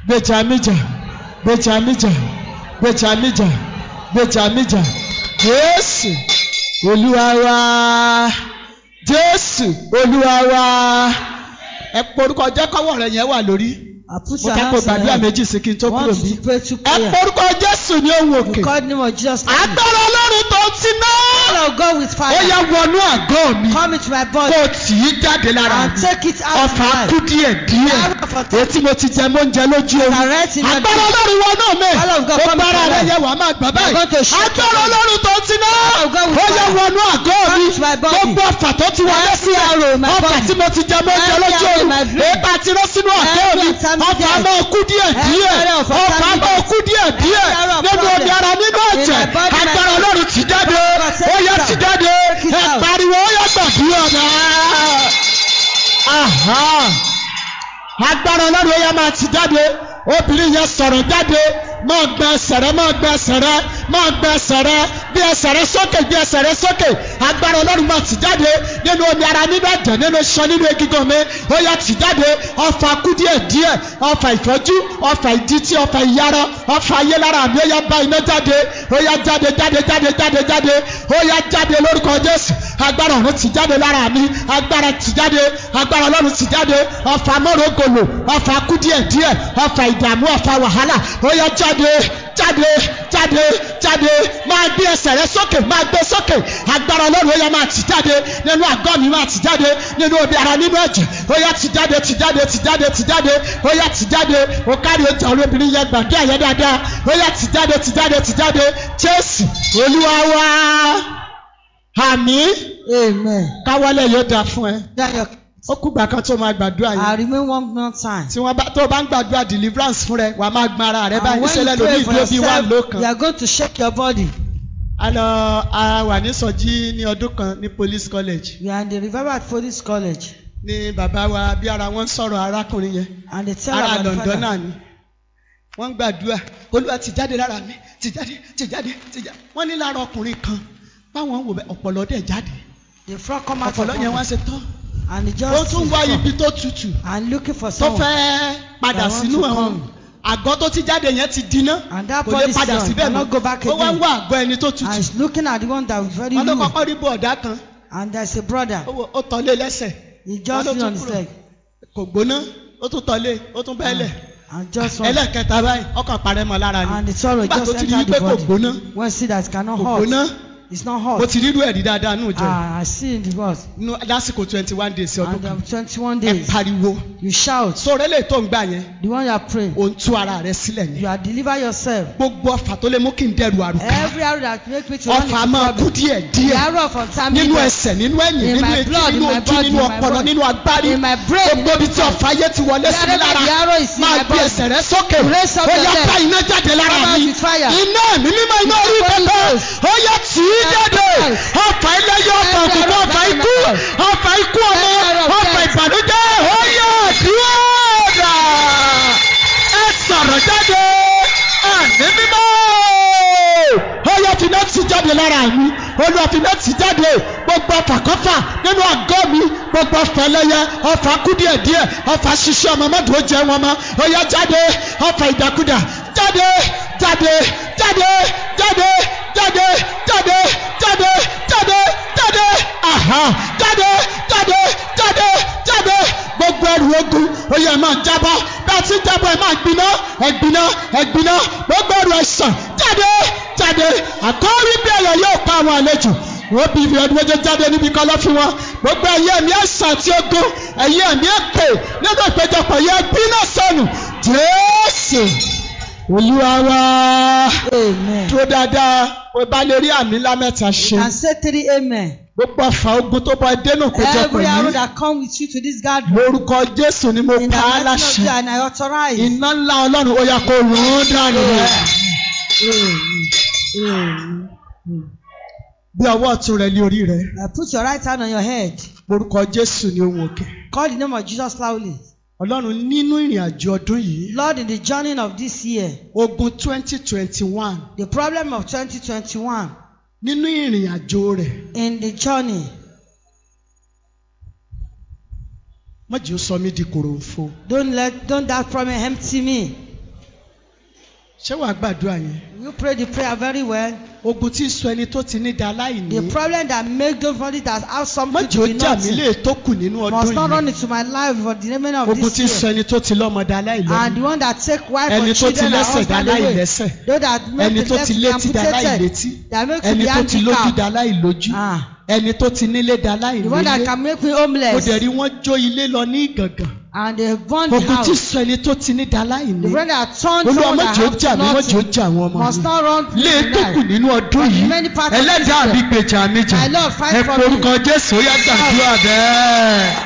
Speaker 1: gbèjàmíjà gbèjàmíjà gbèjàmíjà gbèjàmíjà jésù olúwa wa jésù olúwa wa ẹ porúkọ jẹ́ kọ́wọ́ rẹ yẹn wà lórí
Speaker 2: I put
Speaker 1: mo
Speaker 2: your
Speaker 1: tako
Speaker 2: hands on
Speaker 1: gbàdúrà
Speaker 2: it.
Speaker 1: méjì sí kí n tó kúrò
Speaker 2: Want
Speaker 1: bí
Speaker 2: you to pray two
Speaker 1: ẹ
Speaker 2: prayer.
Speaker 1: porúkọ jésù ní òun òkè
Speaker 2: The God name of Jesus. Lord
Speaker 1: agbára ọlọ́run tó ti ná
Speaker 2: of God with
Speaker 1: ó yá
Speaker 2: fire.
Speaker 1: wọnú àgọ́ mi
Speaker 2: Come into my
Speaker 1: kó
Speaker 2: body
Speaker 1: tì í jáde lára
Speaker 2: and
Speaker 1: mi
Speaker 2: take it out of
Speaker 1: ọfà
Speaker 2: my
Speaker 1: kú
Speaker 2: life.
Speaker 1: díẹ̀ díẹ̀
Speaker 2: Arrow for
Speaker 1: èyí tí mo ti jẹ mo ń jẹ lójú omi
Speaker 2: Direct in my
Speaker 1: agbára
Speaker 2: body.
Speaker 1: ọlọ́run wọ náà mẹ́
Speaker 2: All of God
Speaker 1: ó
Speaker 2: come
Speaker 1: gbára
Speaker 2: into
Speaker 1: rẹ
Speaker 2: life.
Speaker 1: yẹ wàá máa gbà
Speaker 2: I'm going to
Speaker 1: báyìí
Speaker 2: shout
Speaker 1: agbára
Speaker 2: it.
Speaker 1: ọlọ́run tó ti ná
Speaker 2: of God with
Speaker 1: ó yẹ
Speaker 2: fire.
Speaker 1: wọnú àgọ́
Speaker 2: Come
Speaker 1: mi
Speaker 2: into my body.
Speaker 1: gbogbo ọfà tó ti wọlé
Speaker 2: Every
Speaker 1: sí
Speaker 2: arrow in my
Speaker 1: ọfà
Speaker 2: body.
Speaker 1: tí mo ti jẹ mo ń jẹ
Speaker 2: Every
Speaker 1: lójú
Speaker 2: arrow in my
Speaker 1: omi
Speaker 2: dream.
Speaker 1: èyí bá ti rán sínú àgọ́
Speaker 2: Every
Speaker 1: mi
Speaker 2: intermittent.
Speaker 1: ọfà máa kú díẹ̀ díẹ̀
Speaker 2: Every arrow of
Speaker 1: ọfà máa kú díẹ̀ díẹ̀
Speaker 2: Every arrow of
Speaker 1: nínú omi
Speaker 2: problem.
Speaker 1: ara nínú
Speaker 2: In my
Speaker 1: ẹ̀jẹ̀
Speaker 2: body, my
Speaker 1: agbára
Speaker 2: body.
Speaker 1: ọlọ́run ti jáde
Speaker 2: God, take
Speaker 1: ó yẹ
Speaker 2: it out.
Speaker 1: ti jáde
Speaker 2: Take it
Speaker 1: ẹ
Speaker 2: out.
Speaker 1: pariwo ó yẹ gbàdúrà náà. Aha. agbára ọlọ́run ẹ̀yà máa ti jáde obìnrin yẹn sọ̀rọ̀ jáde máa gbẹ ẹsẹ̀ rẹ máa gbẹ ẹsẹ̀ rẹ máa gbẹ ẹsẹ̀ rẹ bí ẹsẹ̀ rẹ sókè bí ẹsẹ̀ rẹ sókè agbára ọlọ́run máa ti jáde nínú omi ara nínú ẹ̀jẹ̀ nínú iṣan nínú egungun mi ó yẹ ti jáde ọfà kú díẹ̀ díẹ̀ ọfà ìfọ́jú ọfà ìdítí ọfà ìyára ọfà ayé lára mi ó yẹ bá iná jáde ó yẹ jáde jáde jáde jáde jáde ó yẹ jáde lórúkọ jésù agbára ọ̀run ti jáde lára mi agbára ti jáde agbára ọlọ́run ti jáde ọfà mọ́rọ́gòlò ọfà kú díẹ̀ díẹ̀ ọfà ìdààmú ọfà wàhálà ó yá jáde jáde jáde jáde máa gbé ẹsẹ̀ rẹ sókè máa gbé e sókè agbára ọlọ́run ó yá máa ti jáde nínú àgọ́ mi máa ti jáde nínú omi ara nínú ẹ̀jẹ̀ ó yá ti jáde ti jáde ti jáde ti jáde ó yá ti jáde ó kárí ọjà olóbìnrin yẹn gbàgbé àyẹ̀ dáadáa ó yá ti jáde ti jáde ti jáde jésù olúwa wá àmì
Speaker 2: Amen.
Speaker 1: káwálẹ̀ yóò dáa fún ẹ
Speaker 2: That your-
Speaker 1: ó kúgbà kan tó máa gbàdúrà
Speaker 2: I
Speaker 1: yẹn
Speaker 2: remain one more time.
Speaker 1: tí wọ́n bá tó o bá ń gbàdúrà deliverance fún rẹ wàá máa gbọn ara rẹ
Speaker 2: And
Speaker 1: báyìí
Speaker 2: when
Speaker 1: ìṣẹ̀lẹ̀
Speaker 2: you
Speaker 1: lómi
Speaker 2: pray for
Speaker 1: ìdúró bíi wà
Speaker 2: yourself, you
Speaker 1: lókan.
Speaker 2: are going to shake your body.
Speaker 1: a lọ a wà ní sọjí ní ọdún kan ní police college
Speaker 2: We are in the revival at Police College.
Speaker 1: ní bàbá wa bí ara wọn ń sọ̀rọ̀ arákùnrin yẹn
Speaker 2: And they tell
Speaker 1: ara
Speaker 2: about the
Speaker 1: London
Speaker 2: father.
Speaker 1: náà ni wọ́n ń gbàdúrà olúwa ti jáde lára mi ti jáde ti jáde ti jáde wọ́n ní lára ọkùnrin kan báwọn wò bẹ́ẹ̀ ọ̀pọ̀lọ́ dẹ̀ jáde
Speaker 2: The frog come out of
Speaker 1: ọ̀pọ̀lọ́ yẹn wá
Speaker 2: one.
Speaker 1: ṣe tán
Speaker 2: And he
Speaker 1: ó
Speaker 2: just
Speaker 1: tún wá ibi tó tutù
Speaker 2: and looking for
Speaker 1: tó
Speaker 2: someone.
Speaker 1: fẹ́ padà
Speaker 2: That want
Speaker 1: sínú
Speaker 2: to
Speaker 1: ẹ̀wọ̀n
Speaker 2: come.
Speaker 1: àgọ́ tó ti jáde yẹn ti dinná
Speaker 2: And that
Speaker 1: kò lè
Speaker 2: police
Speaker 1: padà
Speaker 2: man
Speaker 1: síbẹ̀ mọ́
Speaker 2: cannot go back
Speaker 1: ó wá ń
Speaker 2: again.
Speaker 1: wá àgọ́ ẹni tó
Speaker 2: And
Speaker 1: tutù
Speaker 2: he's looking at the one that was very
Speaker 1: wọn ló
Speaker 2: new.
Speaker 1: kọ́kọ́ rí bọ̀ọ̀dá kan
Speaker 2: And there's a brother.
Speaker 1: ó wò- ó tọ́lé lẹ́sẹ̀
Speaker 2: He
Speaker 1: Wọ́n
Speaker 2: just
Speaker 1: ló
Speaker 2: lean
Speaker 1: tún
Speaker 2: on his
Speaker 1: kúrò.
Speaker 2: leg.
Speaker 1: kò gbóná ó tún tọ́lé ó tún bẹ́ẹ̀lẹ̀
Speaker 2: And just one.
Speaker 1: ẹlẹ́ẹ̀kẹta báyìí ọkàn parẹ́ mọ́ lára ni
Speaker 2: Ah, And the sorrow
Speaker 1: nígbà tó
Speaker 2: just
Speaker 1: ti rí
Speaker 2: entered
Speaker 1: wípé
Speaker 2: the
Speaker 1: kò gbóná
Speaker 2: body. When see that it cannot
Speaker 1: kò gbóná
Speaker 2: hurt. It's not
Speaker 1: mo
Speaker 2: hot.
Speaker 1: ti rírú ẹ̀rí dáadáa nù jọ
Speaker 2: Ah, I see in the words.
Speaker 1: nú- lásìkò twenty one days ọdún
Speaker 2: And
Speaker 1: kan
Speaker 2: um, 21
Speaker 1: ẹ
Speaker 2: days.
Speaker 1: pariwo
Speaker 2: You shout.
Speaker 1: sọ̀rọ̀ lè tó ń gbà yẹn
Speaker 2: The one you are praying.
Speaker 1: ò ń tú ara rẹ sílẹ̀ yẹn
Speaker 2: You are deliver yourself.
Speaker 1: gbogbo ọfà tó lè mú kí n dẹrù àrùkà
Speaker 2: Every arrow that make me to run
Speaker 1: ọfà máa kú
Speaker 2: into trouble.
Speaker 1: díẹ̀
Speaker 2: The
Speaker 1: díẹ̀
Speaker 2: arrow of untimely
Speaker 1: nínú
Speaker 2: death.
Speaker 1: ẹsẹ̀ nínú ẹ̀yìn
Speaker 2: In
Speaker 1: nínú
Speaker 2: my
Speaker 1: etí
Speaker 2: blood, in
Speaker 1: nínú
Speaker 2: my
Speaker 1: ojú
Speaker 2: body,
Speaker 1: nínú
Speaker 2: in my
Speaker 1: ọpọlọ
Speaker 2: body,
Speaker 1: nínú agbárí
Speaker 2: in my brain,
Speaker 1: gbogbo ibi tí ọ̀fà ayé ti wọlé sí mi
Speaker 2: Wherever
Speaker 1: lára
Speaker 2: the arrow is in
Speaker 1: máa
Speaker 2: my
Speaker 1: gbé
Speaker 2: body.
Speaker 1: ẹsẹ̀ rẹ sókè
Speaker 2: Raise up
Speaker 1: ó
Speaker 2: your
Speaker 1: yá
Speaker 2: leg.
Speaker 1: bá iná jáde lára
Speaker 2: Come out
Speaker 1: mi
Speaker 2: with fire.
Speaker 1: iná mi mímọ́ iná orí pẹpẹ ó yá tì í jáde ọ̀fà ẹlẹ́yẹ ọ̀fà òkùnkùn ọ̀fà ikú ọ̀fà ikú ọmọ ọ̀fà ìbànújẹ́ ó yá àdúrà ẹ sọ̀rọ̀ jáde ẹ̀mí mímọ́ ó yá fi náà ti jáde lára mi olùwàfínà ti jáde gbogbo gbogbo ọfàkọ́fà nínú àgọ́ mi gbogbo ọfà ẹlẹ́yẹ ọfà kú díẹ̀ díẹ̀ ọfà ṣiṣẹ́ ọmọ mọ́tò jẹ wọn mọ́ ọyá jáde ọfà ìdàkudà jáde jáde jáde jáde jáde jáde jáde jáde jáde aha jáde jáde jáde jáde gbogbo ẹrù ogun oyè ẹ máa ń jábọ́ bá a ti ń jábọ́ ẹ máa ń gbiná ẹ gbiná ẹ gbiná gbogbo ẹrù ẹ̀sán jáde jáde àkọ́rí bẹ̀rẹ̀ yóò pa àwọn àlejò wọ́n bí ibi ọdún méje jáde níbi kan lọ́fún wọn gbogbo ẹ̀yẹ ẹ̀mí ẹ̀sán àti ogun ẹ̀yẹ ẹ̀mí èpè nínú ìpéjọpọ̀ yẹ gbiná sọnù jésù olúwa wá
Speaker 2: Amen.
Speaker 1: dúró dáadáa o bá lè rí àmì ńlá mẹ́ta ṣe
Speaker 2: And say three amen.
Speaker 1: gbogbo ọ̀fà ogun tó bá dénú ìpéjọpọ̀
Speaker 2: Every arrow
Speaker 1: yìí
Speaker 2: that come with you to this gathering.
Speaker 1: lórúkọ jésù ni mo
Speaker 2: In the
Speaker 1: pa á
Speaker 2: name of
Speaker 1: láṣẹ
Speaker 2: Jesus, and I authorize.
Speaker 1: iná ńlá ọlọ́run ó yá kó rún ún dànù rẹ̀
Speaker 2: Amen. Amen.
Speaker 1: bí ọwọ́ ọ̀tún rẹ̀ lé orí rẹ̀
Speaker 2: Now put your right hand on your head.
Speaker 1: lórúkọ jésù ni ohun òkè
Speaker 2: Call the name of Jesus loudly.
Speaker 1: ọlọ́run nínú ìrìn àjò ọdún yìí
Speaker 2: Lord, in the journey of this year,
Speaker 1: ogun twenty twenty one
Speaker 2: the problem of 2021,
Speaker 1: nínú ìrìn àjò rẹ̀
Speaker 2: in the journey,
Speaker 1: mọ̀jì ó sọ mí di kòròfo
Speaker 2: don't let don't that problem empty me.
Speaker 1: ṣé wàá gbàdúrà yẹn
Speaker 2: You pray the prayer very well.
Speaker 1: ogun tí ń sọ ẹni tó ti ní da aláìní
Speaker 2: The problem that make nobody that has something
Speaker 1: mọ̀jì
Speaker 2: to
Speaker 1: Mm-hmm. ó jà
Speaker 2: be
Speaker 1: mí lè
Speaker 2: nothing
Speaker 1: tó kù nínú
Speaker 2: must
Speaker 1: ọdún
Speaker 2: not run
Speaker 1: yìí
Speaker 2: into my life for the remainder of
Speaker 1: ogun tí ń
Speaker 2: this
Speaker 1: sọ
Speaker 2: year.
Speaker 1: ẹni tó ti lọ́mọ da aláìlọ́mọ
Speaker 2: And the one that take wife
Speaker 1: ẹni tó ti
Speaker 2: or children and
Speaker 1: lẹ́sẹ̀ da
Speaker 2: husband away.
Speaker 1: aláìlẹ́sẹ̀
Speaker 2: Those that make
Speaker 1: ẹni
Speaker 2: the
Speaker 1: tó
Speaker 2: left
Speaker 1: ti
Speaker 2: to be
Speaker 1: létí da aláìlétí
Speaker 2: amputated. That make to
Speaker 1: ẹni
Speaker 2: be
Speaker 1: tó ti lójú da
Speaker 2: handicapped.
Speaker 1: aláìlójú
Speaker 2: Ah,
Speaker 1: ẹni tó ti nílé da
Speaker 2: the one that
Speaker 1: aláìnílé
Speaker 2: can make me
Speaker 1: mo
Speaker 2: homeless.
Speaker 1: dẹ̀ rí wọ́n jó ilé lọ ní ìgàngàn
Speaker 2: And they burn the
Speaker 1: ogun tí ń
Speaker 2: house.
Speaker 1: sọ ẹni tó ti ní da
Speaker 2: The
Speaker 1: aláìní
Speaker 2: one that turned
Speaker 1: olúwa
Speaker 2: someone that
Speaker 1: mọ̀jì ó
Speaker 2: have
Speaker 1: jà mí mọ̀jì ó
Speaker 2: nothing
Speaker 1: jà àwọn ọmọ
Speaker 2: must
Speaker 1: mi.
Speaker 2: not run to
Speaker 1: lé e tó kù
Speaker 2: the
Speaker 1: nínú ọdún yìí
Speaker 2: Many parts of
Speaker 1: ẹlẹ́dàá
Speaker 2: this
Speaker 1: mi
Speaker 2: year.
Speaker 1: gbèjà mi jà
Speaker 2: My Lord, fight
Speaker 1: ẹ
Speaker 2: for me.
Speaker 1: forúkọ jésù ó yá gbàdúrà bẹ́ẹ̀.